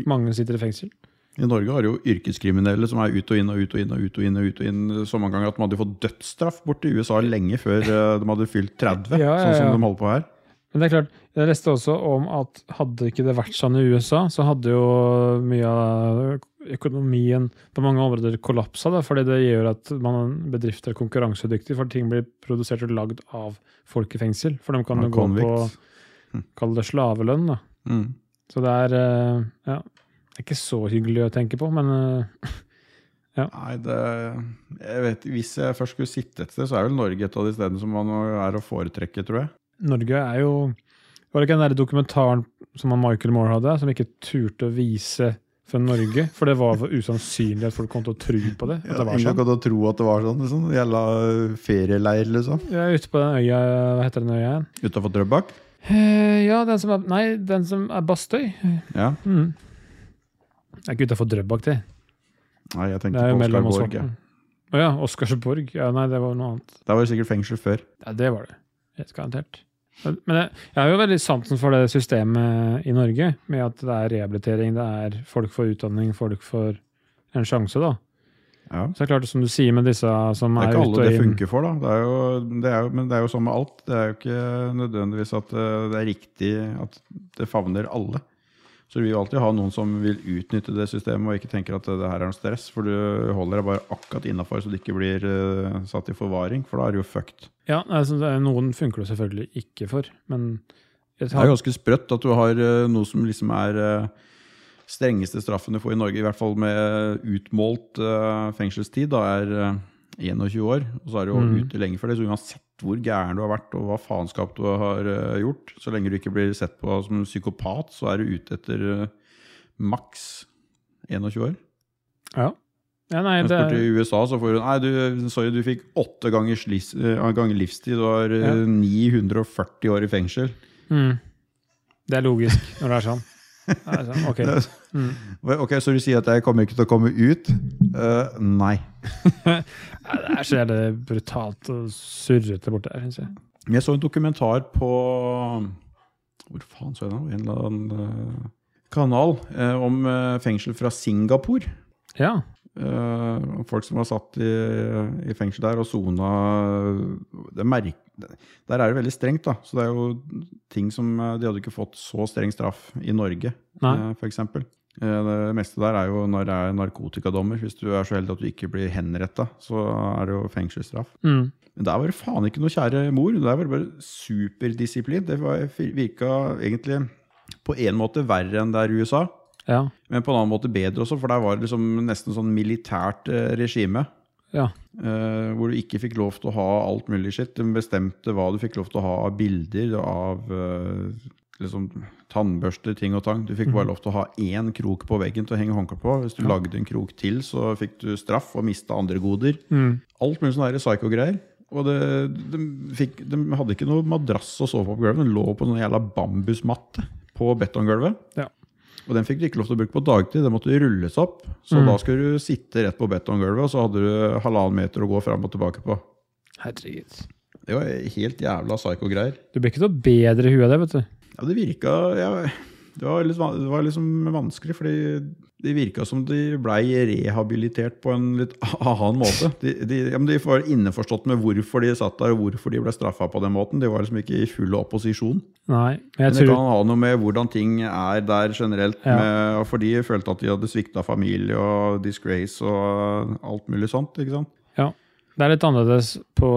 mange som sitter i fengsel.
I Norge har jo yrkeskriminelle som er ut og inn og ut og inn og ut og inn, og ut og inn eh, så mange ganger at de hadde fått dødsstraff borte i USA lenge før eh, de hadde fylt 30,
Ja,
sånn
ja, ja.
som de holder på her.
Men det er klart, jeg leste også om at hadde ikke det vært sånn i USA, så hadde jo mye av økonomien på mange områder kollapsa, da, fordi det gjør at man, bedrifter er konkurransedyktige, for ting blir produsert og lagd av folk i fengsel. For de kan
Av
jo gå på
convicts.
kall det slavelønn. Da.
Mm.
Så det er eh, ja, det er ikke så hyggelig å tenke på, men eh,
Nei, det jeg vet, Hvis jeg først skulle sitte et sted, så er vel Norge et av de stedene som man er å foretrekke, tror jeg.
Norge er jo Var det ikke den der dokumentaren som han Michael Moore hadde, som ikke turte å vise fra Norge? For det var for usannsynlig at folk kom til å tro på det. At det var sånn.
kan du tro at det var sånn. Liksom. Gjelda ferieleir, liksom.
Jeg er ute på den øya Hva heter den øya igjen?
Utafor Drøbak?
Eh, ja, den som er Nei, den som er Bastøy.
Ja.
Mm. Det er ikke utafor Drøbak, det.
Nei, jeg
Det er
tenkte
jo
på
mellom oss.
Oscarborg. Ja.
Å ja, Oscarsborg. Ja, nei, det var noe annet.
Der var det sikkert fengsel før.
Ja, det var det. Helt garantert. Men jeg, jeg har jo veldig sansen for det systemet i Norge, med at det er rehabilitering, det er folk får utdanning, folk får en sjanse, da.
Ja.
Så det er klart, som du sier med disse som
Det er
er,
ikke
ute
alle det
og inn
funker for, da. Det er jo, det er jo, men det er jo sånn med alt. Det er jo ikke nødvendigvis at eh, det er riktig at det favner alle. Så vi vil alltid ha noen som vil utnytte det systemet og ikke tenker at det her er noe stress. For du holder deg bare akkurat innafor så du ikke blir eh, satt i forvaring, for da er du jo fucked.
Ja, altså, det er- noen funker det selvfølgelig ikke for, men jeg
Det er
tar,
ganske sprøtt at du har eh, noe som liksom er eh, strengeste straffen du får i Norge, i hvert fall med utmålt eh, fengselstid, da er eh, 21 år. Og så er du jo
Mhm.
ute lenge for det, så uansett hvor gæren du har vært og hva faenskap du har eh, gjort, så lenge du ikke blir sett på som en psykopat, så er du ute etter eh, maks 21 år.
ja. ja, nei,
Mens
det
borte
er
i USA så får du Nei, du, sorry, du fikk åtte ganger, slis, eh, ganger livstid. Du har eh,
Ja.
940 år i fengsel.
mm, Det er logisk når det er sånn. Det er sånn ok.
Det er-
Mm.
Ok, Så du sier at jeg kommer ikke til å komme ut? Eh, nei.
Nei, Det er så jævlig brutalt og surrete borte der, syns jeg.
Men Jeg så en dokumentar på Hvor faen så jeg den? En eller annen eh, kanal eh, om eh, fengsel fra Singapore.
Ja.
Eh, om folk som var satt i, i fengsel der og sona det er merk, Der er det veldig strengt, da. Så det er jo ting som eh, De hadde ikke fått så streng straff i Norge,
Nei.
eh, for eksempel Eh, Det meste der er jo når det er narkotikadommer. Hvis du er så heldig at du ikke blir henretta, så er det jo fengselsstraff.
Mm.
Men der var det faen ikke noe kjære mor. Der var det bare superdisiplin. Det var, virka egentlig på en måte verre enn det er i USA,
Ja.
men på en annen måte bedre også, for der var det liksom nesten sånn militært eh, regime.
Ja.
eh, hvor du ikke fikk lov til å ha alt mulig skitt. De bestemte hva du fikk lov til å ha av bilder, av eh, liksom, tannbørster, ting og tang. Du fikk bare lov til å ha én krok på veggen til å henge håndkle på. Hvis du lagde en krok til, så fikk du straff og mista andre goder.
Mm.
Alt mulig sånne der psycho-greier. Og det, de, fikk, de hadde ikke noe madrass å sove på på gulvet. Den lå på en jævla bambusmatte på betonggulvet.
Ja.
Og den fikk du ikke lov til å bruke på dagtid. Den måtte rulles opp. Så da skulle du sitte rett på betonggulvet, og så hadde du halvannen meter å gå fram og tilbake på.
Herregud.
Det var helt jævla psycho-greier.
Du blir ikke noe bedre i huet av det, vet du.
Ja, det virka ja, det, var litt, van- det var liksom vanskelig, fordi det virka som de blei rehabilitert på en litt annen måte. De, de, ja, men de var innforstått med hvorfor de satt der, og hvorfor de ble straffa på den måten. De var liksom ikke i full opposisjon.
Nei, men
Men
jeg
det
tror
kan ha noe med hvordan ting er der generelt.
Ja.
Med, og for de følte at de hadde svikta familie og disgrace og alt mulig sånt. ikke sant?
Det er litt annerledes på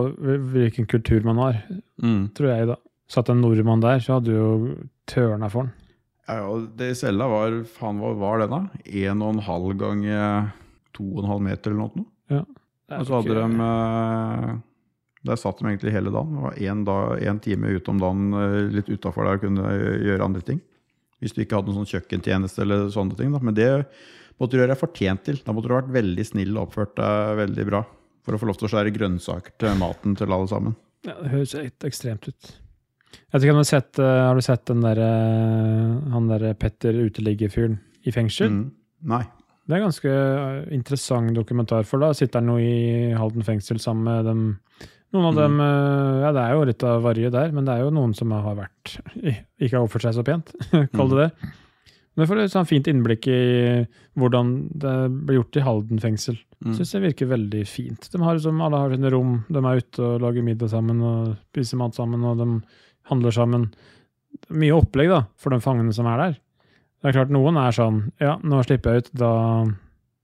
hvilken kultur man har, tror jeg, da. Satt en nordmann der, så hadde du jo tørna for han.
Ja, ja, og det i cella var faen, hva var den, da? En og en halv gang eh, to og en halv meter eller noe?
Det er
Og så hadde
ikke-
de eh, Der satt de egentlig hele dagen. Det var én dag, en time ute om dagen eh, litt utafor der og kunne gjøre andre ting. Hvis du ikke hadde noen sånn kjøkkentjeneste eller sånne ting. Da. Men det måtte du gjøre deg fortjent til. Da måtte du ha vært veldig snill og oppført deg veldig bra. For å få lov til å skjære grønnsaker til maten til alle sammen.
Ja, det høres helt ekstremt ut. Jeg vet ikke om du har sett, eh, har du sett den der, eh, han der Petter uteliggefyren i fengsel?
Mm. Nei.
Det er en ganske eh, interessant dokumentar, for da sitter han jo i Halden fengsel sammen med dem. Noen av
Mm.
dem eh, Ja, det er jo litt av varje der, men det er jo noen som har vært Ikke har oppført seg så pent, kall
Mm.
det det. Men jeg får et sånn fint innblikk i hvordan det blir gjort i Halden fengsel.
Mm.
Syns det virker veldig fint. De har liksom, alle har sine rom, de er ute og lager middag sammen og spiser mat sammen, og de handler sammen. Det er Mye opplegg da, for de fangene som er der. Det er klart noen er sånn Ja, nå slipper jeg ut, da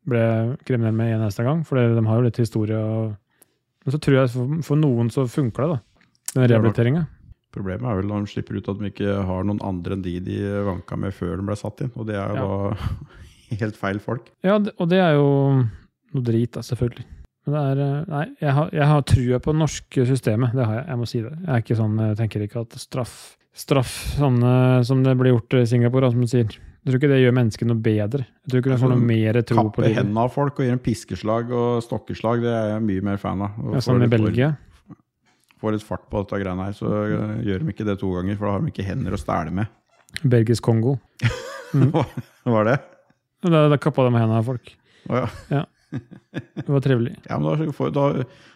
ble jeg kriminell med en neste gang, for de har jo litt historie. Og... Men så tror jeg for, for noen så funker det, da. Den
Det er rart.
rehabiliteringa.
Problemet er vel når de slipper ut at de ikke har noen andre enn de de vanka med før de ble satt inn. Og det er jo da helt feil folk.
Ja, det- og det er jo noe drit, da, selvfølgelig. Men det er eh, Nei, jeg har, jeg har trua på det norske systemet. Det har jeg. Jeg må si det. Jeg er ikke sånn, jeg tenker ikke at straff Straff sånne som det blir gjort i Singapore, da, som du sier. Jeg tror ikke det gjør mennesket noe bedre. Jeg tror ikke du
Jeg
får
tror
noe
de
mer tro på
Kappe
livet.
hendene av folk og gi dem piskeslag og stokkeslag, det er jeg mye mer fan av. Og
Ja, Sammen
får
med
litt-
Belgia.
Får litt fart på dette greiene her, så øh, gjør de ikke det to ganger, for da har de ikke hender å stæle med.
Belgisk Kongo. Mm.
Var det?
Da, da kappa de hendene av folk.
Å ja.
Det var trivelig.
Ja, men da, får- da,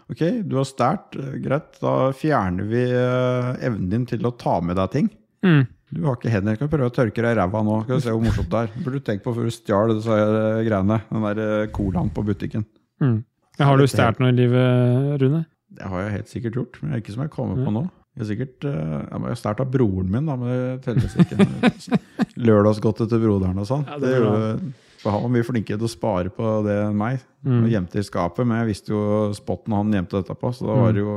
ok, du har stært, eh, greit. Da fjerner vi eh, evnen din til å ta med deg ting.
Mm.
Du har ikke hender, kan du prøve å tørke deg i ræva nå? Skal vi se hvor morsomt det er. Det burde du tenke på før du stjal disse her, eh, greiene. Den der eh, colaen på butikken.
Mm. Har du stjålet noe i livet, Rune?
Det har jeg helt sikkert gjort, men det er ikke som jeg kommer
Mm.
på nå. Jeg har sikkert eh, ja, men jeg har stjålet av broren min, da, men det telles ikke. Lørdagsgodtet til broderen og sånn.
Ja, det
det
blir
gjorde- for han var mye flinkere til å spare på det enn meg.
Mm.
Og gjemte i skapet, men jeg visste jo spotten han gjemte dette på, så da
Mm.
var det jo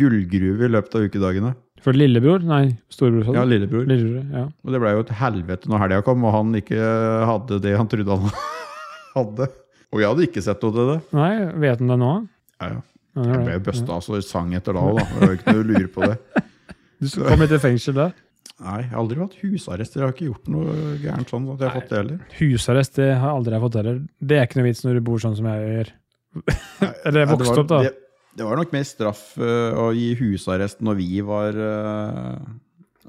gullgruve i løpet av ukedagene.
For lillebror? Nei, storebror. sa du?
Ja, lillebror.
lillebror. Ja.
Og det ble jo et helvete når helga kom, og han ikke hadde det han trodde han hadde. Og jeg hadde ikke sett noe til det.
Nei, vet han det nå?
Ja, ja.
Ja, det
Jeg
var
ble
det.
jo busta så det sang etter da òg, da. Det var jo ikke noe å lure på det.
Du skal komme litt i fengsel da?
Nei, jeg har aldri hatt husarrest. Jeg har ikke gjort noe gærent sånn at jeg har fått det heller.
Husarrest det har aldri jeg fått heller. Det er ikke noe vits når du bor sånn som jeg gjør. Eller jeg
Nei, det
vokste
var-
opp, da.
Det, det var nok mer straff eh, å gi husarrest når vi var, eh,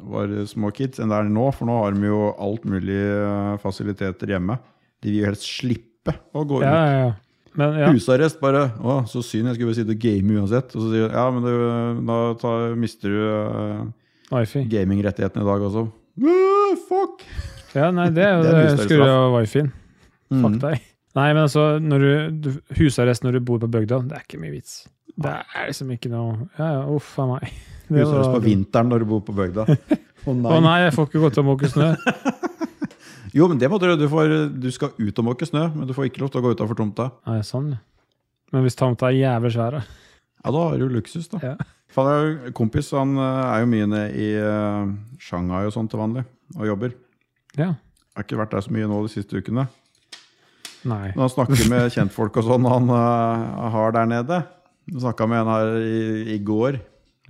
var små kids, enn det er nå. For nå har de jo alt mulig eh, fasiliteter hjemme. De vil jo helst slippe å gå ut.
Ja, ja, ja. Men ja,
Husarrest, bare. Å, så synd, jeg skulle bare sitte og game uansett. Og så sier de ja, men det, da tar, mister du eh,
wifi.
gamingrettighetene i dag også. Uh, fuck!
Ja, nei, det er jo
Det er
det.
mye større
Skrur av wifien. Fuck
Mm.
deg. Nei, men altså, når du, du, husarrest når du bor på bygda, det er ikke mye vits. Det er liksom ikke noe Ja, ja, uff a meg. Det
Husarrest
var-
på vinteren når du bor på bygda. Å
Å nei, jeg får ikke gått og måke snø.
Jo, men det må du gjøre. Du, får- du skal ut og måke snø, men du får ikke lov til å gå utafor tomta.
Nei, sånn, ja. Men hvis tomta er jævlig svær, da.
Ja, da har du luksus, da.
Ja.
Faen, jeg har jo- kompis han eh, er jo mye nede i eh, Shanghai og sånn til vanlig, og jobber.
Ja.
Har ikke vært der så mye nå de siste ukene.
Nei.
Når han snakker med kjentfolk og sånn han eh, har der nede Snakka med en her i, i går.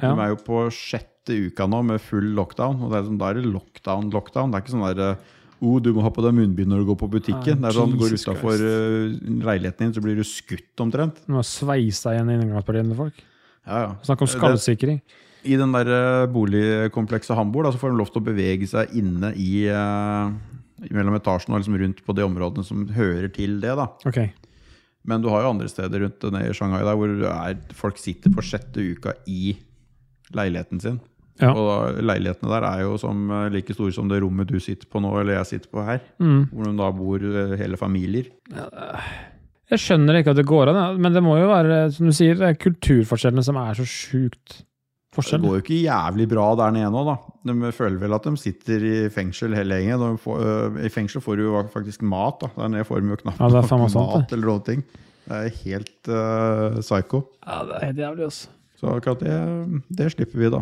Ja.
De er jo på sjette uka nå med full lockdown. Og det er sånn, da er det lockdown, lockdown. Det er ikke sånn der eh, oh, du må ha på deg munnbind når du går på butikken.
Ah,
det er sånn, Går du
Jesus
utafor leiligheten din, så blir du skutt omtrent.
Nå sveisa igjen inngangspartiet til folk.
Ja, ja.
Snakk om skallsikring.
I den der eh, boligkomplekset Hamburg da, så får de lov til å bevege seg inne i eh, mellom etasjene og liksom rundt på de områdene som hører til det. da.
Ok.
Men du har jo andre steder rundt nede i Shanghai der hvor det er, folk sitter på sjette uka i leiligheten sin.
Ja.
Og da, leilighetene der er jo som, eh, like store som det rommet du sitter på nå, eller jeg sitter på her.
Mm.
Hvor de da bor eh, hele familier.
Jeg skjønner ikke at det går an, ja. men det må jo være, som du sier, det er kulturforskjellene som er så sjukt
Det
forskjell.
går jo ikke jævlig bra der nede nå, da. De føler vel at de sitter i fengsel hele gjengen. De får, øh, I fengsel får du jo faktisk mat, da. Der nede får de jo knapt
Ja, det er faen meg
nok
sant,
mat eller noen ting. Det er helt øh, psycho.
Ja, det er helt jævlig, altså.
Så akkurat det, det slipper vi, da.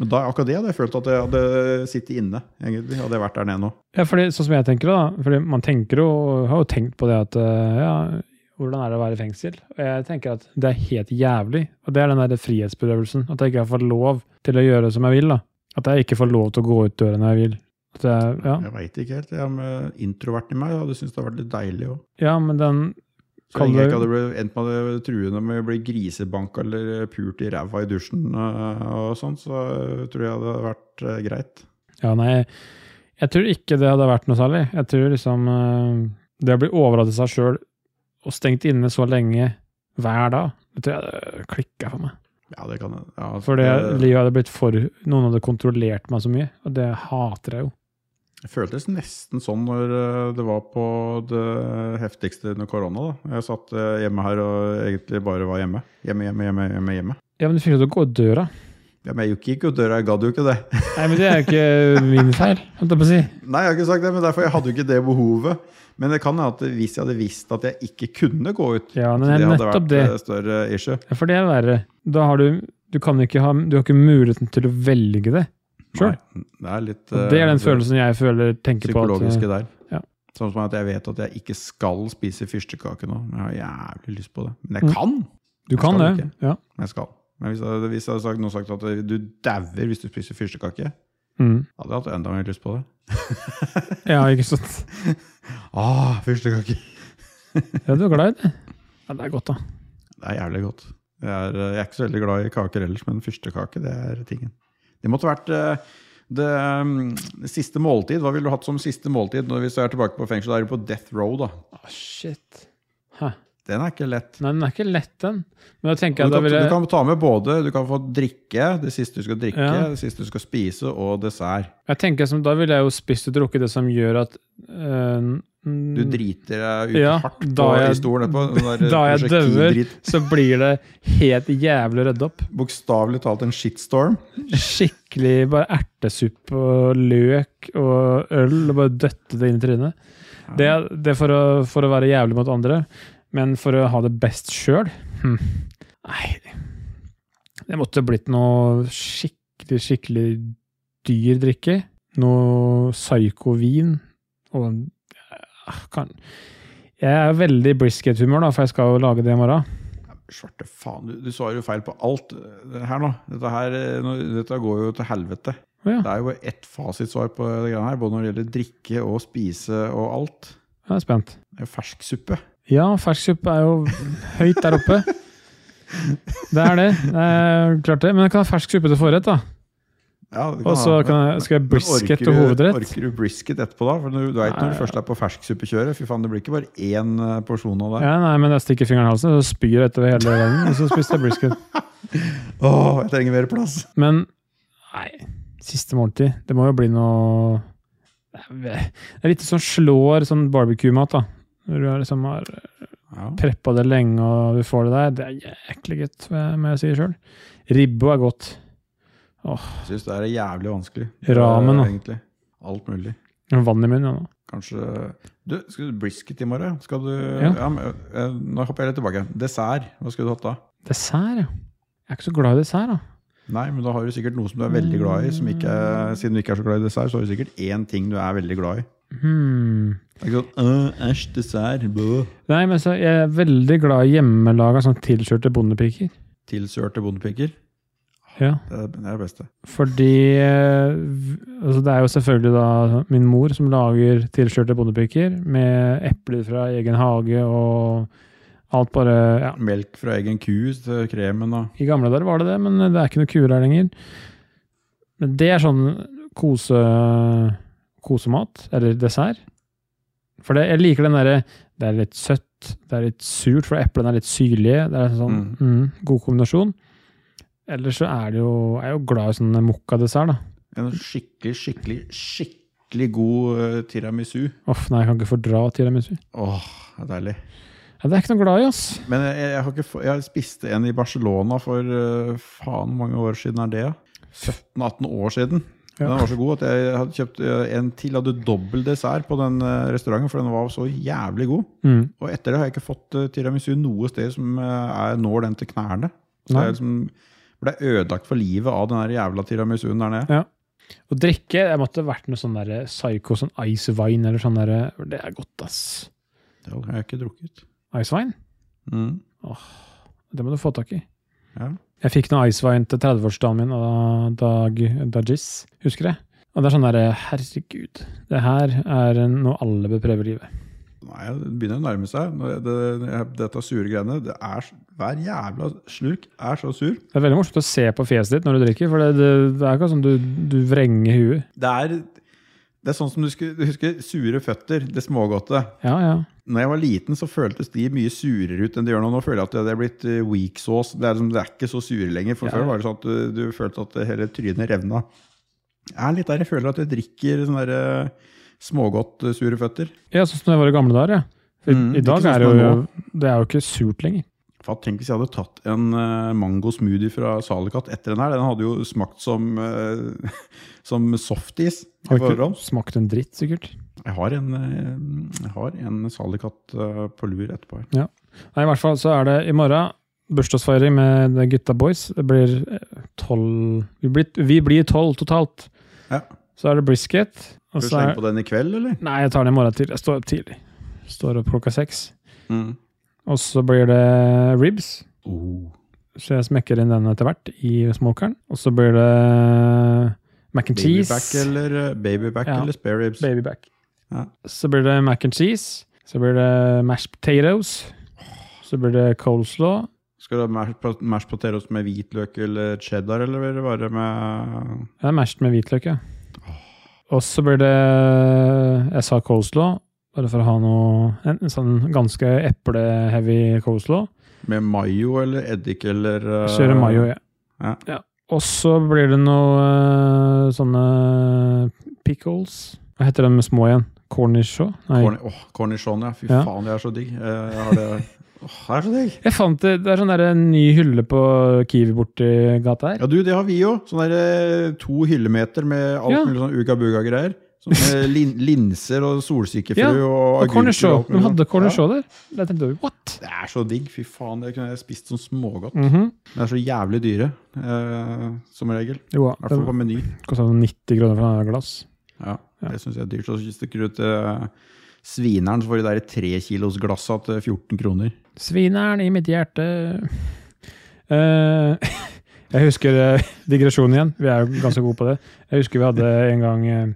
Men da, akkurat det hadde jeg følt at jeg hadde sittet inne, egentlig. Hadde jeg vært der nede nå.
Ja, fordi, sånn som jeg tenker det, da, fordi man tenker jo, og har jo tenkt på det at eh, ja, hvordan er det å være i fengsel? Og jeg tenker at det er helt jævlig, og det er den der frihetsberøvelsen, at jeg ikke har fått lov til å gjøre som jeg vil, da. At jeg ikke får lov til å gå ut døren når jeg vil. At jeg, ja.
eh, Jeg veit ikke helt. Jeg, men introverten i meg hadde syntes det hadde vært litt deilig òg.
ja, men den
Så
Kan
lenge jeg
du-
ikke hadde blitt, endt med å true dem med å bli grisebank eller pult i ræva i dusjen, eh, og sånn, så tror jeg det hadde vært eh, greit.
Ja, nei, jeg tror ikke det hadde vært noe særlig. Jeg tror liksom eh, Det å bli overrasket seg sjøl og stengt inne så lenge hver dag, det tror jeg klikka for meg.
Ja, det kan jeg. Ja, altså,
For det,
det-
livet hadde blitt for Noen hadde kontrollert meg så mye, og det hater jeg jo.
Det føltes nesten sånn når eh, det var på det heftigste under korona. da. Jeg satt eh, hjemme her og egentlig bare var hjemme. Hjemme, hjemme, hjemme. hjemme, hjemme.
Ja, men du fikk jo til å gå ut døra.
Ja, men jeg gikk jo ut døra, jeg gadd jo ikke det.
Nei, men det er jo ikke min feil, holdt jeg på å si.
Nei, jeg har ikke sagt det, men derfor jeg hadde jo ikke det behovet. Men det kan hende at hvis jeg hadde visst at jeg ikke kunne gå ut,
Ja,
at
men
det hadde
nettopp
vært
det.
eh, større issue.
Ja, For det er verre. Da har du Du kan ikke ha Du har ikke muligheten til å velge det. Sure.
Nei, det er litt
Og det er
eh,
den følelsen jeg føler tenker på at eh,
psykologiske der.
ja.
Sånn som at jeg vet at jeg ikke skal spise fyrstekake nå. Men jeg har jævlig lyst på det. Men
Mm.
jeg kan!
Du
Jeg
kan det.
skal
Ja.
Jeg skal. Men hvis jeg, hadde- hvis jeg hadde sagt, noen sagt at du dauer hvis du spiser fyrstekake,
Mm.
hadde jeg hatt enda mer lyst på det.
ja, ikke sant.
Ah, fyrstekake!
Ja, du er glad i det. Ja, det er godt, da.
Det er jævlig godt. Jeg er, eh, jeg er ikke så veldig glad i kaker ellers, men fyrstekake, det er tingen. Det måtte vært eh, det, mm, det siste måltid. Hva ville du hatt som siste måltid når vi er tilbake på fengsel? Da er du på death row, da.
Ah, shit. Hæ.
Den er ikke lett.
Nei, den er ikke lett, den. Men da
Du
tenker jeg da
kan,
vil
du
jeg
kan ta med både Du kan få drikke, det siste du skal drikke,
Ja.
det siste du skal spise, og dessert.
Jeg tenker som, Da ville jeg jo spist og drukket det som gjør at øh, mm,
Du driter deg ut
Ja,
hardt
da
på,
jeg-
i stolen etterpå. Den der
Da jeg døver,
prosjektildrit.
så blir det helt jævlig redd opp.
Bokstavelig talt en shitstorm.
Skikkelig bare ertesuppe og løk og øl, og bare døtte det inn i trynet. Det, er- det er for å, for å være jævlig mot andre, men for å ha det best sjøl hm. Nei Det måtte blitt noe skikkelig, skikkelig dyr drikke. Noe psyko-vin. Og ah, kan. Jeg er veldig brisket-humør, da, for jeg skal jo lage det i morgen.
Svarte faen, du, du svarer jo feil på alt eh, her nå. Dette, her, eh, nå- dette går jo til helvete.
Å ja.
Det er jo bare ett fasitsvar på det greiene her, både når det gjelder drikke og spise og alt.
Jeg er spent.
Det er jo Fersksuppe.
Ja, fersksuppe er jo høyt der oppe. Det er det. det er klart det. Men jeg kan ha fersk suppe til forrett, da.
Ja, det kan
Og så
ha,
kan jeg- skal jeg
men
brisket
orker
til
du-
hovedrett?
Orker du brisket etterpå, da? For du, du vet når du
Nei.
først er på fersksupekjøret. Fy faen, det blir ikke bare én eh, porsjon av det.
Ja, nei, men jeg stikker fingeren i halsen, så spyr jeg etter hele gangen, og så spiste jeg brisket.
Åh, jeg trenger mer plass!
Men nei, siste måltid. Det må jo bli noe Det er litt som slår sånn barbecue-mat, da. Når du har liksom har
Ja.
preppa det lenge, og du får det der. Det er jæklig godt, må jeg si sjøl. Ribbe er godt.
Jeg syns det er jævlig vanskelig.
Ramen, da.
Eh, egentlig. Alt mulig.
Vann i munnen, ja. nå.
Kanskje Du, skal du brisket i morgen? Skal du
Ja.
ja. men, eh, Nå hopper jeg litt tilbake. Dessert. Hva skulle du hatt da?
Dessert, ja. Jeg er ikke så glad i dessert, da.
Nei, men da har du sikkert noe som du er veldig glad i. Som ikke, er- siden du ikke er så glad i dessert, så har du sikkert én ting du er veldig glad i.
Hmm.
Det er ikke sånn «Øh, Æsj, dessert. Blå.
Nei, men så jeg er veldig glad i hjemmelaga sånn tilskjørte bondepiker.
Tilsørte bondepiker.
Ja,
Det er det er det beste.
fordi eh, v- altså Det er jo selvfølgelig da min mor som lager tilskjørte bondepiker med epler fra egen hage og alt bare ja.
Melk fra egen ku til kremen og
I gamle dager var det det, men det er ikke noe kuer her lenger. Men det er sånn kose, kosemat, eller dessert. For det, jeg liker den derre Det er litt søtt, det er litt surt, for eplene er litt syrlige. Det er sånn mm. god kombinasjon. Ellers så er det jo Jeg er jo glad i sånn mokkadessert, da.
en skikkelig, skikkelig, skikkelig god eh, tiramisu.
Uff, nei, jeg kan ikke fordra tiramisu.
Åh, det er deilig.
Ja, det er ikke noe glad i, ass.
Men jeg, jeg, har ikke, få- jeg spiste en i Barcelona for eh, faen hvor mange år siden er det? 17-18 år siden.
Ja.
Den var så god at jeg hadde kjøpt eh, en til. Hadde dobbel dessert på den eh, restauranten, for den var så jævlig god.
Mm.
Og etter det har jeg ikke fått eh, tiramisu noe sted som eh, er, når den til knærne. Så
Nei.
jeg liksom ble ødelagt for livet av den der jævla tiramisuen der nede.
Ja. Og drikke Jeg måtte vært noe sånn derre psycho, sånn ice wine eller sånn derre Det er godt, ass.
Det har jeg ikke drukket.
Ice wine?
Mm.
Det må du få tak i.
Ja.
Jeg fikk noe ice wine til 30-årsdagen min av Dag Dajis, eh, husker jeg. Og det er sånn derre Herregud, det her er noe alle bør prøve i livet.
Nei, det begynner å nærme seg. Nå er det- det- Dette sure greiene det er, s- Hver jævla slurk er så sur.
Det er veldig morsomt å se på fjeset ditt når du drikker, for det, det, det er ikke sånn du, du vrenger huet.
Det er, det er sånn som du husker, du husker sure føtter, det smågodte.
Ja, ja.
Når jeg var liten, så føltes de mye surere ut enn de gjør nå. Nå føler jeg at det er blitt eh, weak sauce. Det er, liksom, det er ikke så sure lenger. For
Ja.
før var det sånn at du, du følte at det hele trynet revna. Jeg er litt der jeg føler at jeg drikker sånne der, eh, smågodt eh, sure føtter.
Ja, sånn som det var i gamle dager, ja. For
Mm,
I dag
ikke sånn
er det
som det
jo,
er
det er jo ikke surt lenger.
Fatt, tenk hvis jeg hadde tatt en eh, mango smoothie fra Salikat etter den her. Den hadde jo smakt som, eh, som softis. i
Har ikke
forhold.
smakt en dritt, sikkert.
Jeg har en, eh, jeg har en Salikat eh, på lur etterpå. her.
Nei, i hvert fall så er det i morgen bursdagsfeiring med The gutta boys. Det blir eh, tolv Vi blir- Vi blir tolv totalt.
Ja.
Så er det brisket.
Skal du
Og så er,
slenge på den i kveld, eller?
nei, jeg tar den i morgen tidlig. Jeg står opp tidlig. Står opp klokka seks.
Mm.
Og så blir det ribs.
Oh.
Så jeg smekker inn den etter hvert i smokeren. Og så blir det mac and
Babyback
cheese.
eller, eh, babyback
Ja.
eller spare ribs?
Babyback.
Ja.
Så blir det mac and cheese. Så blir det mashed potatoes. Så blir det coleslaw.
Skal du ha mash pot- mashed potatoes med hvitløk eller cheddar, eller vil det være med
Det er mashed med hvitløk, ja. Og så blir det Jeg sa coleslaw, bare for å ha noe En, en sånn ganske eple-heavy coleslaw.
Med mayo eller eddik eller eh,
Kjøre mayo, ja.
ja.
Og så blir det noe eh, sånne pickles Hva heter den med små igjen? Cornichon? Nei.
corni- åh, cornichon, ja. Fy
Ja.
faen, det er så digg. Eh, Jeg har det Åh, det er så digg!
Jeg fant det, det er sånn der en ny hylle på Kiwi borti gata her.
Ja, du, det har vi jo. Sånn der eh, to hyllemeter med alt
Ja.
mulig sånn uga-buga-greier. Sånn, eh, lin linser og solsikkefrø
Ja,
og
Og
agurker
cornichon.
alt mulig
De hadde
sånn.
cornichon der. Da tenkte jeg, what?
Ja. Det er så digg. Fy faen, det kunne jeg spist som smågodt.
Mhm.
Det er så jævlig dyre, eh, som regel. I
Jo, ja,
hvert fall
det
på Meny.
kosta 90 kroner for et glass.
Ja,
Ja.
det syns jeg er dyrt. Og så stikker du til svineren, så får de der trekilosglassa til 14 kroner.
Svineren i mitt hjerte. Eh, jeg husker eh, digresjonen igjen. Vi er jo ganske gode på det. Jeg husker vi hadde en gang, uh,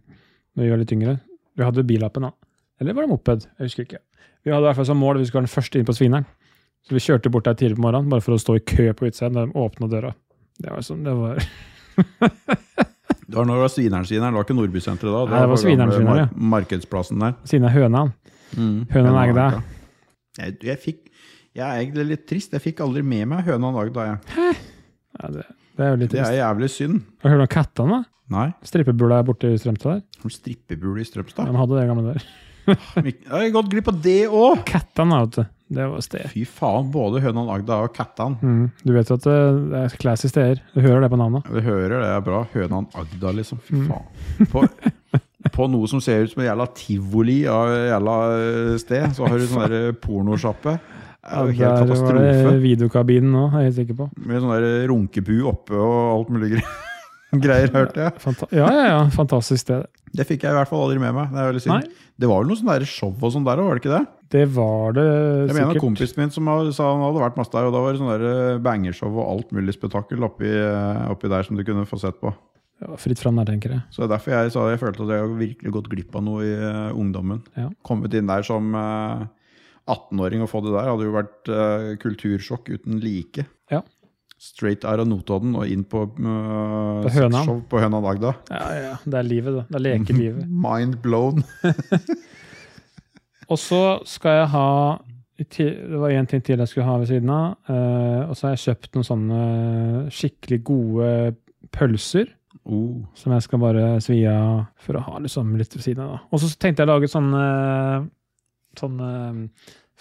når vi var litt yngre Vi hadde billappen da. Eller var det moped? Jeg husker ikke. Vi hadde i hvert fall som mål at vi skulle være den første inn på Svineren. Så vi kjørte bort der tidlig på morgenen bare for å stå i kø på utsiden. Da de åpna døra. Det var sånn, det var
Det var når det var Svineren-Svineren, det var ikke Nordbysenteret da.
Nei, det var Svineren-Svineren, ja.
mar- markedsplassen der.
siden av høna. Høna og egg, da.
Jeg, jeg, fikk, jeg er egentlig litt trist. Jeg fikk aldri med meg høna og agda. Jeg.
Ja, det, det er jo litt
Det er
trist.
jævlig synd.
Har du hørt om kattene? da?
Nei.
Strippebula er borte i Strømstad der.
Har du strippebule i Strømstad?
De hadde det gamle der.
Jeg har gått glipp av det òg!
Kattene, vet du. Det var sted.
Fy faen, både høna og agda og kattan.
Mm. Du vet jo at det det er classy steder. Du hører det på navnet.
Ja, Du hører det er bra. Hønan Agda, liksom. Fy
Mm.
faen. På, på noe som ser ut som en jævla tivoli av et jævla eh, sted, så har du sånn der pornosjappe. Det er jo helt
der var det
katastrofe.
videokabinen òg, er jeg helt sikker på.
Med sånn der runkebu oppe og alt mulig gre- greier, hørte jeg.
Fanta ja, ja, ja. Fantastisk sted.
Det fikk jeg i hvert fall aldri med meg. Det er veldig synd. Det var vel noe sånn der show og sånn der òg, var det ikke det?
Det var det
Jeg mener
sikkert.
kompisen min som har- sa han hadde vært masse der, og da var det sånn der eh, bangershow og alt mulig spetakkel oppi, eh, oppi der som du kunne få sett på.
Det var fritt fram der, tenker jeg.
Så det er derfor jeg sa jeg følte at jeg har virkelig gått glipp av noe i eh, ungdommen.
Ja.
Kommet inn der som eh, 18-åring og få det der hadde jo vært eh, kultursjokk uten like.
Ja.
Straight out av Notodden og inn på, eh,
På Hønan.
sexshow på Hønan Agda.
Ja, ja. Det er livet, da. Det er lekelivet.
Mind blown.
Og så skal jeg ha i ti- Det var én ting til jeg skulle ha ved siden av. eh, og så har jeg kjøpt noen sånne skikkelig gode pølser.
Oh.
Som jeg skal bare svi av for å ha liksom litt ved siden av. da. Og så tenkte jeg å lage sånn eh, sånn eh,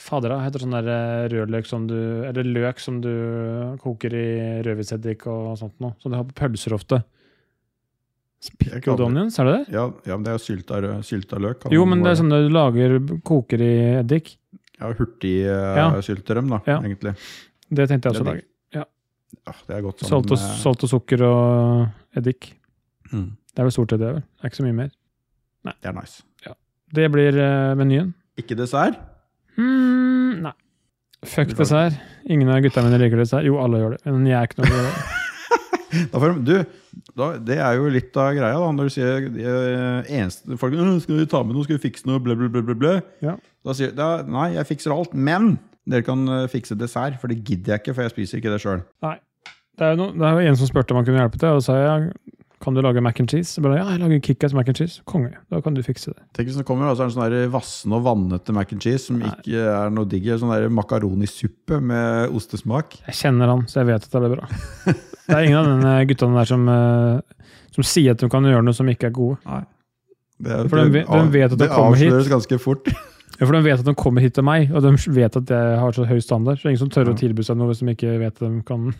Fader, da, heter det sånn der eh, rødløk som du Eller løk som du koker i rødvinseddik og sånt noe. Som du har på pølser ofte.
Jeg
Pickled
kaller det-
onions, er det det?
Ja, ja, men det er jo sylta, rø- sylta løk.
Jo, men det er sånn du lager Koker i eddik.
Ja, Hurtigsylterem,
Ja.
uh, sylterem da,
Ja.
egentlig.
Det
Det
tenkte jeg også
er sånn, eh,
å lage.
Ja, det er godt sammen
Salt og, salt og sukker og eddik.
Mm,
Det er vel stort sett det, vel. Det er ikke så mye mer.
det er nice.
Det blir eh, menyen.
Ikke dessert?
Mm, nei. Fuck dessert. Ingen av gutta mine liker dessert. Jo, alle gjør det. Men jeg er ikke noe glad i det.
Da får de, du, da, det er jo litt av greia, da, når du sier de eneste folk «Åh, 'Skal vi ta med noe? Skal vi fikse noe?' Ble, ble, ble, ble, ble.
Ja.
Da sier de nei, jeg fikser alt, men dere kan eh, fikse dessert, for det gidder jeg ikke, for jeg spiser ikke det sjøl.
Nei. Det er, jo noen- det er jo en som spurte om han kunne hjelpe til, og da sa jeg kan du lage mac and cheese? Så bare, ja, jeg lager Kikkas mac and cheese. Konge. Da kan du fikse det.
Tenk hvis det kommer, da, så er det sånn der vassende og vannete mac and cheese som
Nei.
ikke er noe digg. Sånn der makaroni-suppe med ostesmak.
Jeg kjenner han, så jeg vet at det blir bra. Det er ingen av denne guttene der som, eh, som sier at de kan gjøre noe som ikke er gode.
Nei. Det, er-
For de vet- de vet at de kommer hit.
Det avsløres ganske fort.
Ja, For de vet at de kommer hit til meg, og de vet at jeg har så høy standard. Så det er ingen som tør å tilby seg noe hvis de ikke vet at de kan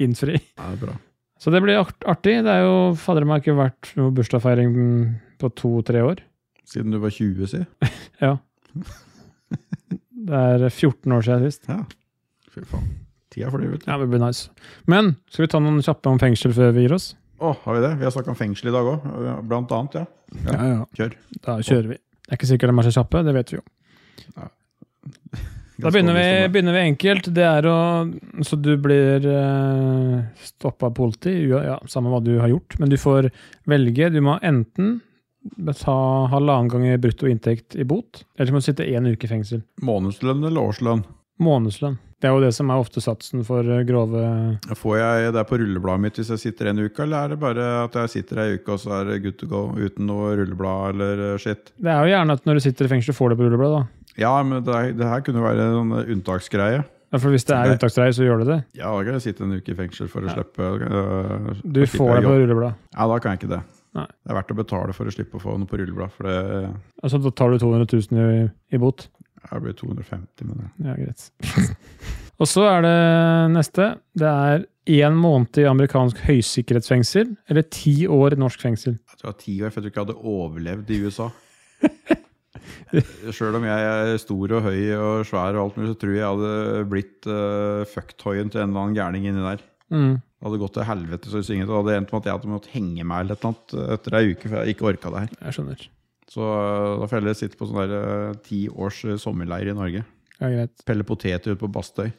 innfri.
Ja, det er bra.
Så det blir art artig. Det er jo fader meg ikke vært noe bursdagsfeiring på to-tre år.
Siden du var 20, si.
Ja. Det er 14 år siden sist.
Ja. Fy faen. Tida flyr, vet du.
Ja, det blir nice. Men skal vi ta noen kjappe om fengsel før vi gir oss?
Å, har vi det? Vi har snakka om fengsel i dag òg, blant annet. ja. Ja, Kjør.
Da kjører vi. Det er ikke sikkert de er så kjappe, det vet vi jo. Da begynner vi, begynner vi enkelt. Det er å Så du blir eh, stoppa av politi, ja, ja, samme hva du har gjort, men du får velge. Du må enten ta halvannen gang i brutto inntekt i bot, eller så må du sitte én uke i fengsel.
Månedslønn eller årslønn?
Månedslønn. Det er jo det som er ofte satsen for eh, grove
Får jeg det på rullebladet mitt hvis jeg sitter en uke, eller er det bare at jeg sitter ei uke og så er det good to go uten noe rulleblad eller eh, shit?
Det er jo gjerne at når du sitter i fengsel, får du på rullebladet, da.
Ja, men det, er- det her kunne jo være en unntaksgreie.
Ja, For hvis det er
Det-
unntaksreir, så gjør du det.
Ja, da kan jeg sitte en uke i fengsel for å
Ja.
slippe øh,
Du
å slippe
får det på
jobb.
rullebladet.
Ja, da kan jeg ikke det.
Nei.
Det er verdt å betale for å slippe å få noe på rulleblad, for det
Altså, da tar du 200 000 i, i bot.
jeg blir 250 med det.
Ja, greit. Og så er det neste. Det er én måned i amerikansk høysikkerhetsfengsel, eller ti år i norsk fengsel.
Jeg tror jeg var ti år, for jeg tror ikke jeg hadde overlevd i USA. Sjøl om jeg er stor og høy og svær, og alt mulig, så tror jeg jeg hadde blitt uh, fucktoyen til en eller annen gærning inni der.
Mm.
Det hadde gått til helvete så synget, og det hadde endt med at jeg hadde måttet henge meg eller et eller annet eh, etter ei uke, for jeg ikke orka det her.
Jeg skjønner.
Så øh, da får jeg heller sitte på sånn der øh, ti års øh, sommerleir i Norge.
Ja, greit.
Pelle poteter ute på Bastøy.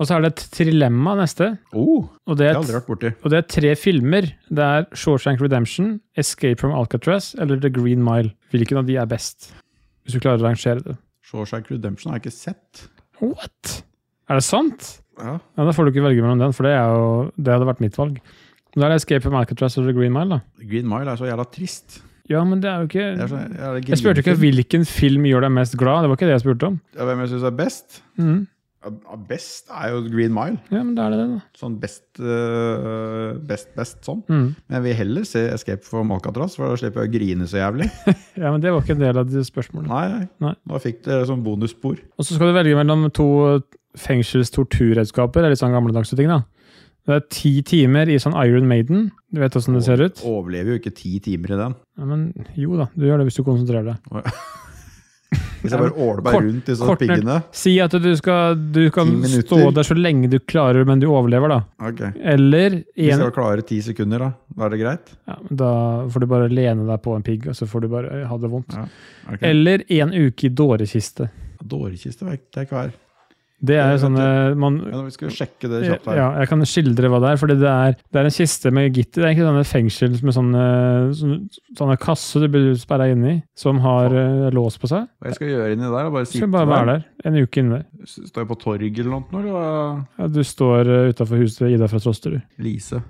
Og så er det et trilemma neste.
Oh,
Og det
det har
er,
jeg aldri vært borti.
og det er tre filmer. Det er Shawshank Redemption, Escape from Alcatraz eller The Green Mile. Hvilken av de er best? Hvis du klarer å rangere det.
Shawshank Redemption har jeg ikke sett.
What?! Er det sant?!
Ja.
Ja, Da får du ikke velge mellom den, for det, er jo, det hadde vært mitt valg. Da er det Escape from Alcatraz og The Green Mile, da.
Green Mile er så jævla trist.
Ja, men det er jo ikke
Det er sånn så, jeg, er
Jeg spurte ikke hvilken film gjør deg mest glad. Det var ikke det jeg spurte om.
Hvem jeg syns er best?
Mhm.
Ja, Best er jo Green Mile.
Ja, men da er det det, da.
Sånn best, øh, best, best sånn.
Mhm.
Men jeg vil heller se Escape from Alcatraz, for da slipper jeg å grine så jævlig.
Ja, men Det var ikke en del av det spørsmålet.
Nei, nei.
Nei.
Da fikk dere sånn bonusspor.
Og så skal du velge mellom to fengsels-torturredskaper. Det er litt sånn gamledagse ting, da. Det er ti timer i sånn Iron Maiden. Du vet åssen det ser ut?
Overlever jo ikke ti timer i den.
Ja, men jo da, du gjør det hvis du konsentrerer deg.
Hvis jeg bare åler meg
Kort-
rundt disse
kort-
piggene.
Si at du skal Du
Ti
kan
minutter.
stå der så lenge du klarer, men du overlever, da.
Ok.
Eller
Hvis
en,
jeg klarer ti sekunder, da, da er det greit?
ja, men Da får du bare lene deg på en pigg, og så får du bare ha det vondt.
Ja. Ok.
Eller en uke i dårekiste.
Dårekiste vet jeg ikke hva er.
Det er jo
Det vet
sånne man,
Men vi skal sjekke det kjapt her.
ja, Jeg kan skildre hva det er. Fordi det er, det er en kiste med gitter. Det er egentlig sånne fengsel med sånne, sånne, sånne kasser du blir sperra inne i, som har eh, lås på seg.
Hva jeg skal gjøre inni der? er Bare
Så
sitte
Skal du bare være der en uke inne.
der? Står jeg på torg eller noe? Eller? hva?
Ja, du står uh, utafor huset til Ida fra Trosterud.
Lise.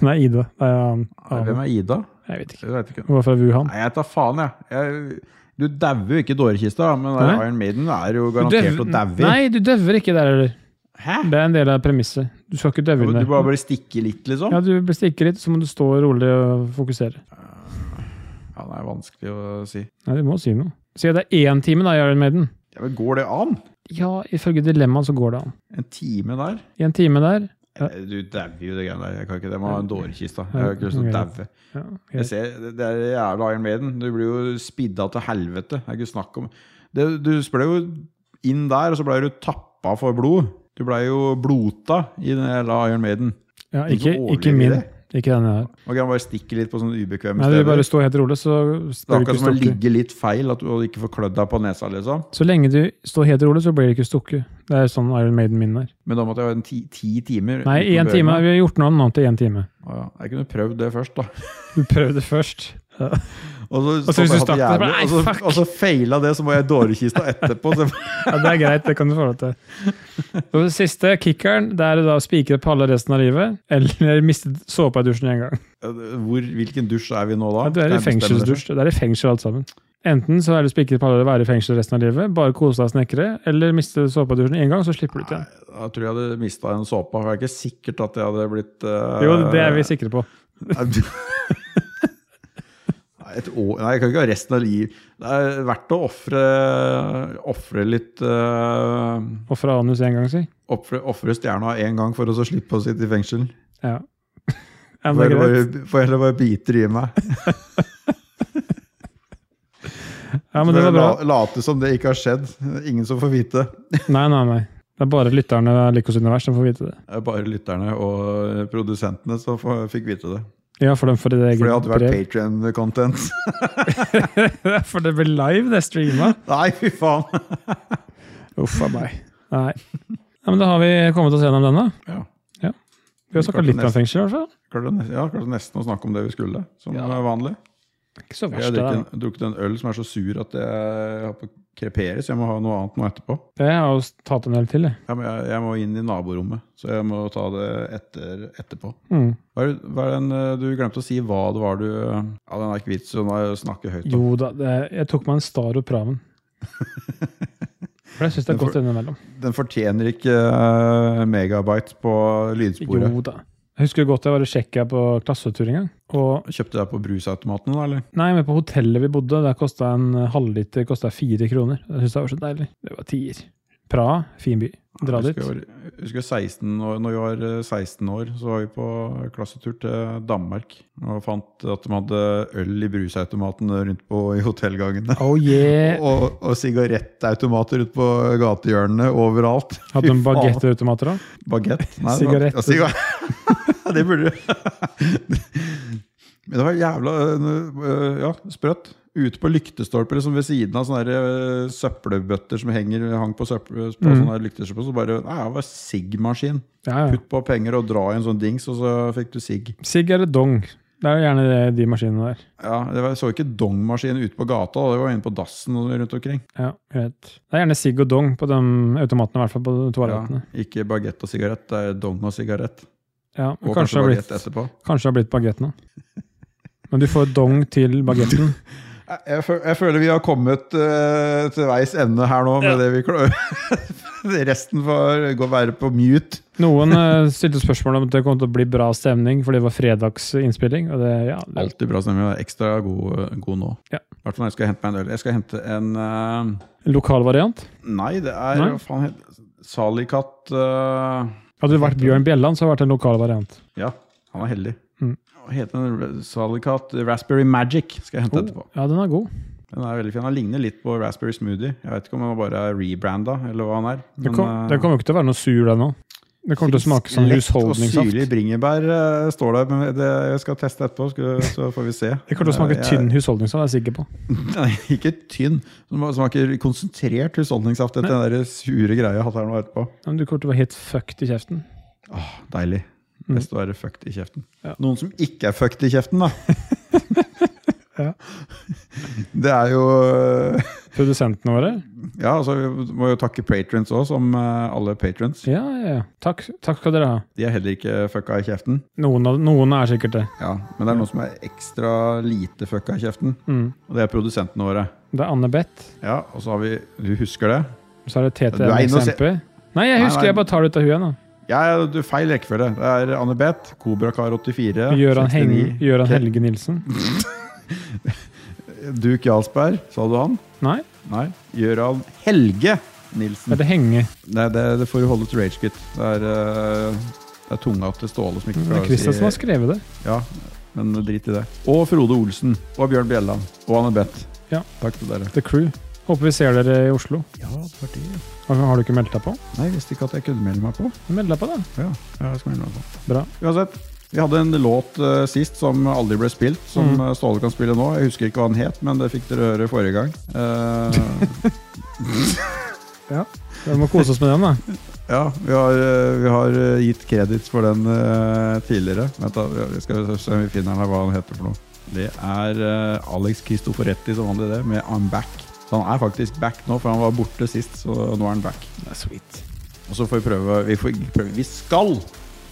Nei, Ida. Nei, han-
Nei, Hvem er Ida?
Jeg vet ikke.
Jeg vet ikke.
Hun var fra Wuhan.
Nei, jeg tar faen, jeg. jeg du dauer jo ikke i dårekista, da, men
Nei.
Iron Maiden er jo garantert å daue.
Nei, du døver ikke der heller.
Hæ?
Det er en del av premisset. Du skal ikke døve
Du
under.
bare bare stikker litt, liksom? Ja.
Ja, du blir stikket litt, så må du stå rolig og fokusere.
Det er vanskelig å si.
Nei, du må si noe. Si at det er én time da, i Iron Maiden.
Ja, men Går det an?
Ja, ifølge dilemmaet så går det an.
En time der?
I en time der Ja.
Eh, Du dauer jo det greiene der. Jeg kan ikke det. Man har en dårekiste. Jeg har ikke lyst til å
Ja.
daue.
ja,
Jeg
greit.
ser, det- det er jævla Iron Maiden. Du blir jo spidda til helvete. Det er ikke snakk om det, Du ble jo inn der, og så ble du tappa for blod. Du ble jo blota i den jævla Iron Maiden.
ja
Tenk å
ikke,
overleve
ikke min.
det.
Ikke den jeg har.
Man kan bare stikke litt på sånne ubekvemme
Nei, du
steder.
bare stå helt rolig, så
det er
blir du
akkurat
ikke
som å
stukket.
ligge litt feil at du, og ikke få klødd deg på nesa. liksom.
Så lenge du står helt rolig, så blir du ikke stukket. Det er sånn Iron Maiden min er.
Men da måtte jeg ha en ti, ti timer.
Nei,
uten å
én
bevege
time.
meg.
Vi har gjort noe annet til én time.
Å ja. Jeg kunne prøvd det først, da.
Du prøvde først.
Og så,
så hvis du stakk det, så bare,
jævlig,
«Nei,
og så,
fuck!»
og så feila det, så må jeg i dårekista etterpå. Så,
Ja, det er greit, det kan du få lov til. Og det siste, kickeren, det er da å spikre på alle resten av livet, eller miste såpa i dusjen en gang.
hvor, hvilken dusj er vi nå da?
Ja, du er
Kan jeg bestemme det?
i fengselsdusj. Det er i fengsel alt sammen. Enten så er du spikret på alle å være i fengsel resten av livet, bare kose deg og snekre, eller miste såpa i dusjen en gang, så slipper du ut igjen.
Jeg tror jeg hadde mista en såpe. For det er ikke sikkert at jeg hadde blitt eh,
Jo, det er vi sikre på.
Nei, et år, nei, jeg kan ikke ha resten av livet Det er verdt å ofre Ofre litt eh,
Og fra anus en gang, si.
Ofre ofre stjerna én gang for å så slippe å sitte i fengsel.
Ja. ja men
Får
det er
heller
greit.
bare, får heller bare bite det i meg.
Ja, men det var bra.
La- Late som det ikke har skjedd. Ingen som får vite.
Nei, nei, nei. Det er bare lytterne av Lykkos univers som får vite det.
Det er bare lytterne og produsentene som får- fikk vite det.
Ja, for dem får det eget
For det hadde vært
brev.
Patrion-content.
for det blir live, det streama.
Nei, fy faen!
Uff a meg. Nei. Ja, men da har vi kommet oss gjennom denne.
Ja,
Vi har snakka litt om fengsel, i hvert fall.
klarte, ne- ja, klarte nesten å snakke om det vi skulle, som
Ja.
er vanlig.
Ikke så
Jeg har
verst, det. da.
drukket, en- drukket en øl som er så sur at jeg har på kreperes. Jeg må ha noe annet nå etterpå.
Jeg har jo tatt en del til, jeg.
Ja, men jeg, jeg må inn i naborommet, så jeg må ta det etter, etterpå.
Mm.
Hva er, det- hva er den, eh, du glemte å si hva det var du Ja, den er ikke vits å snakke høyt om.
Jo da, det, jeg tok meg en Star og Praven. For jeg syns det er godt innimellom.
Den fortjener ikke eh, megabyte på lydsporet.
Jo da. Jeg husker godt jeg var i Tsjekkia på klassetur en gang. Og
Kjøpte deg på brusautomaten, da? eller?
nei, men på hotellet vi bodde, der kosta en halvliter kostet fire kroner. Jeg syns det var så deilig. Det var tier. Praha, fin by. Dra
Jeg
dit.
husker, jeg var- jeg husker 16 år, når vi var eh, 16 år, så var vi på klassetur til Danmark. Og fant at de hadde øl i brusautomaten rundt på i hotellgangene.
Oh yeah!
Og, og sigarettautomater ute på gatehjørnene overalt.
Hadde
Fy
de
faen.
bagettautomater òg?
Bagett? Nei,
Sigarett.
Det var, ja, siga- det burde du. Men det var jævla øh, ja, sprøtt. Ute på lyktestolper liksom ved siden av sånne der, øh, søppelbøtter som henger, hang på, søppel, på
Mm.
sånne der lyktestolper. Så bare Nei, det var sigg-maskin.
Ja, ja.
Putt på penger og dra i en sånn dings, og så fikk du sigg.
Sigg eller dong. Det er jo gjerne det, de maskinene der.
Ja, det var, så ikke dongmaskin ute på gata, da. det var inne på dassen og rundt omkring.
Ja, greit. Det er gjerne sigg og dong på de automatene, i hvert fall på
Ja,
toalettene.
ikke bagett og sigarett, det er dong og sigarett.
Ja, men
Og kanskje,
kanskje, det
bagett
har blitt,
etterpå.
kanskje det har blitt bagetten. Men du får dong til bagetten.
Jeg, jeg, fø- jeg føler vi har kommet eh, til veis ende her nå med det vi klarer. Resten får gå være på mute.
Noen eh, stilte spørsmål om at det kom til å bli bra stemning, for det var fredagsinnspilling. Og det, ja, det,
Alltid bra stemning. jeg er Ekstra god, god nå.
Ja.
I hvert fall når jeg skal hente meg en øl. Jeg skal hente en eh,
lokal variant.
Nei, det er
Nei?
hva faen heter Salikat eh,
Hadde det vært Bjørn Bjelland, så hadde det vært en lokal variant.
Ja, han var heldig.
Mm.
Hva heter den? Salikat Raspberry Magic skal
Oh.
jeg hente etterpå.
Ja, den er god.
Den er veldig fin. Han ligner litt på Raspberry Smoothie. Jeg vet ikke om han bare er rebranda, eller hva han er.
Det
Men,
kom-
eh,
det kommer jo ikke til å være noe sur, den òg. Det kommer til å smake som
Lett og syrlig
husholdningssaft.
bringebær eh, står der, men det jeg skal teste etterpå, skal, så får vi se.
Det kommer til å smake
Eh, jeg-
tynn husholdningssaft, er jeg sikker på.
Nei, ikke tynn. Det må- smaker konsentrert husholdningssaft etter den der sure greia jeg har hatt her nå etterpå.
Ja, Men du kommer til å være helt fucked i kjeften.
Åh, deilig. Best å være fucked i kjeften.
Mm. Ja.
Noen som ikke er fucked i kjeften, da.
Ja.
Det er jo eh,
Produsentene våre?
Ja, altså, vi må jo takke patrons òg, som eh, alle patrons.
Ja, ja, ja. Takk, takk skal dere ha.
De er heller ikke fucka i kjeften.
Noen, av, noen er sikkert det.
Ja, Men det er noen som er ekstra lite fucka i kjeften,
Mm.
og det er produsentene våre.
Det er Anne Beth.
Ja, og så har vi Du husker det?
Så er det
Du er inne og se-
TTM-eksempel. Nei, jeg
Nei,
husker.
nei.
Jeg bare tar det ut av huet. nå.
Ja, ja, du feil rekkefølge. Det er Anne-Beth, Kobrakar84,
Gøran, Heng, Gøran Helge Nilsen.
Duke Jarlsberg, sa du han?
Nei,
Nei. Gøran Helge
det
Nilsen.
er det Henge.
Nei, det, det får du holde til Ragequit. Det er, eh, det er tunga til Ståle som ikke
Det er Christian som har skrevet det.
Ja, men drit i det. Og Frode Olsen. Og Bjørn Bjelland. Og Anne-Beth.
Ja.
Takk til dere.
The Crew. Håper vi ser dere i Oslo.
Ja, det var det.
Har har du ikke meldt deg på?
Nei, jeg visste ikke at jeg kunne melde meg på.
Meld deg på, da.
Ja, jeg skal melde meg på.
Bra.
Uansett, Vi hadde en låt eh, sist som aldri ble spilt, som eh, Ståle kan spille nå. Jeg husker ikke hva den het, men det fikk dere høre forrige gang. Eh,
Ja. Vi må kose oss med den, da.
ja, vi har, eh, vi har eh, gitt kreditt for den eh, tidligere. Vent da, vi skal se om vi finner den her, hva den heter for noe. Det er eh, Alex Cristoforetti som hadde det, med I'm Back. Så han er faktisk back nå, for han var borte sist, så nå er han back.
Sweet.
Og så får vi prøve, vi, får, ikke prøve. vi skal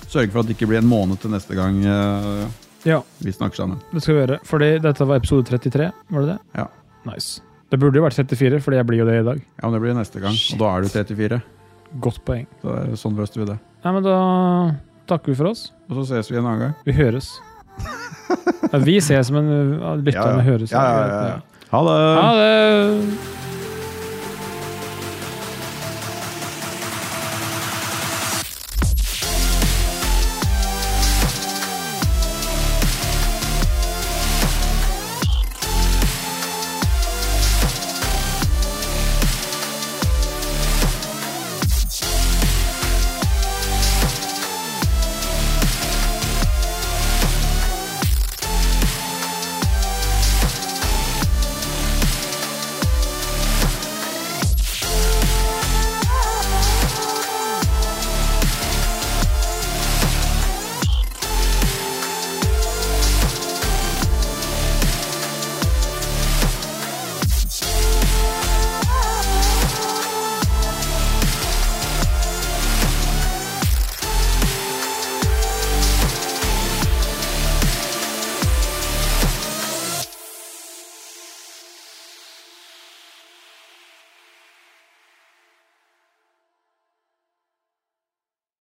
sørge for at det ikke blir en måned til neste gang eh,
Ja,
vi snakker sammen.
det skal vi gjøre. Fordi dette var episode 33, var det det?
Ja.
Nice. Det burde jo vært 34, fordi jeg blir jo det i dag.
Ja, men det blir neste gang, og da er du 34.
Godt poeng.
Så det er- sånn løste vi det.
Nei, men da takker vi for oss.
Og så ses vi en annen gang.
Vi høres. Ja, vi ses, men uh, lytterne høres.
Ja, ja, ja, ja. Ha det!
Ha det!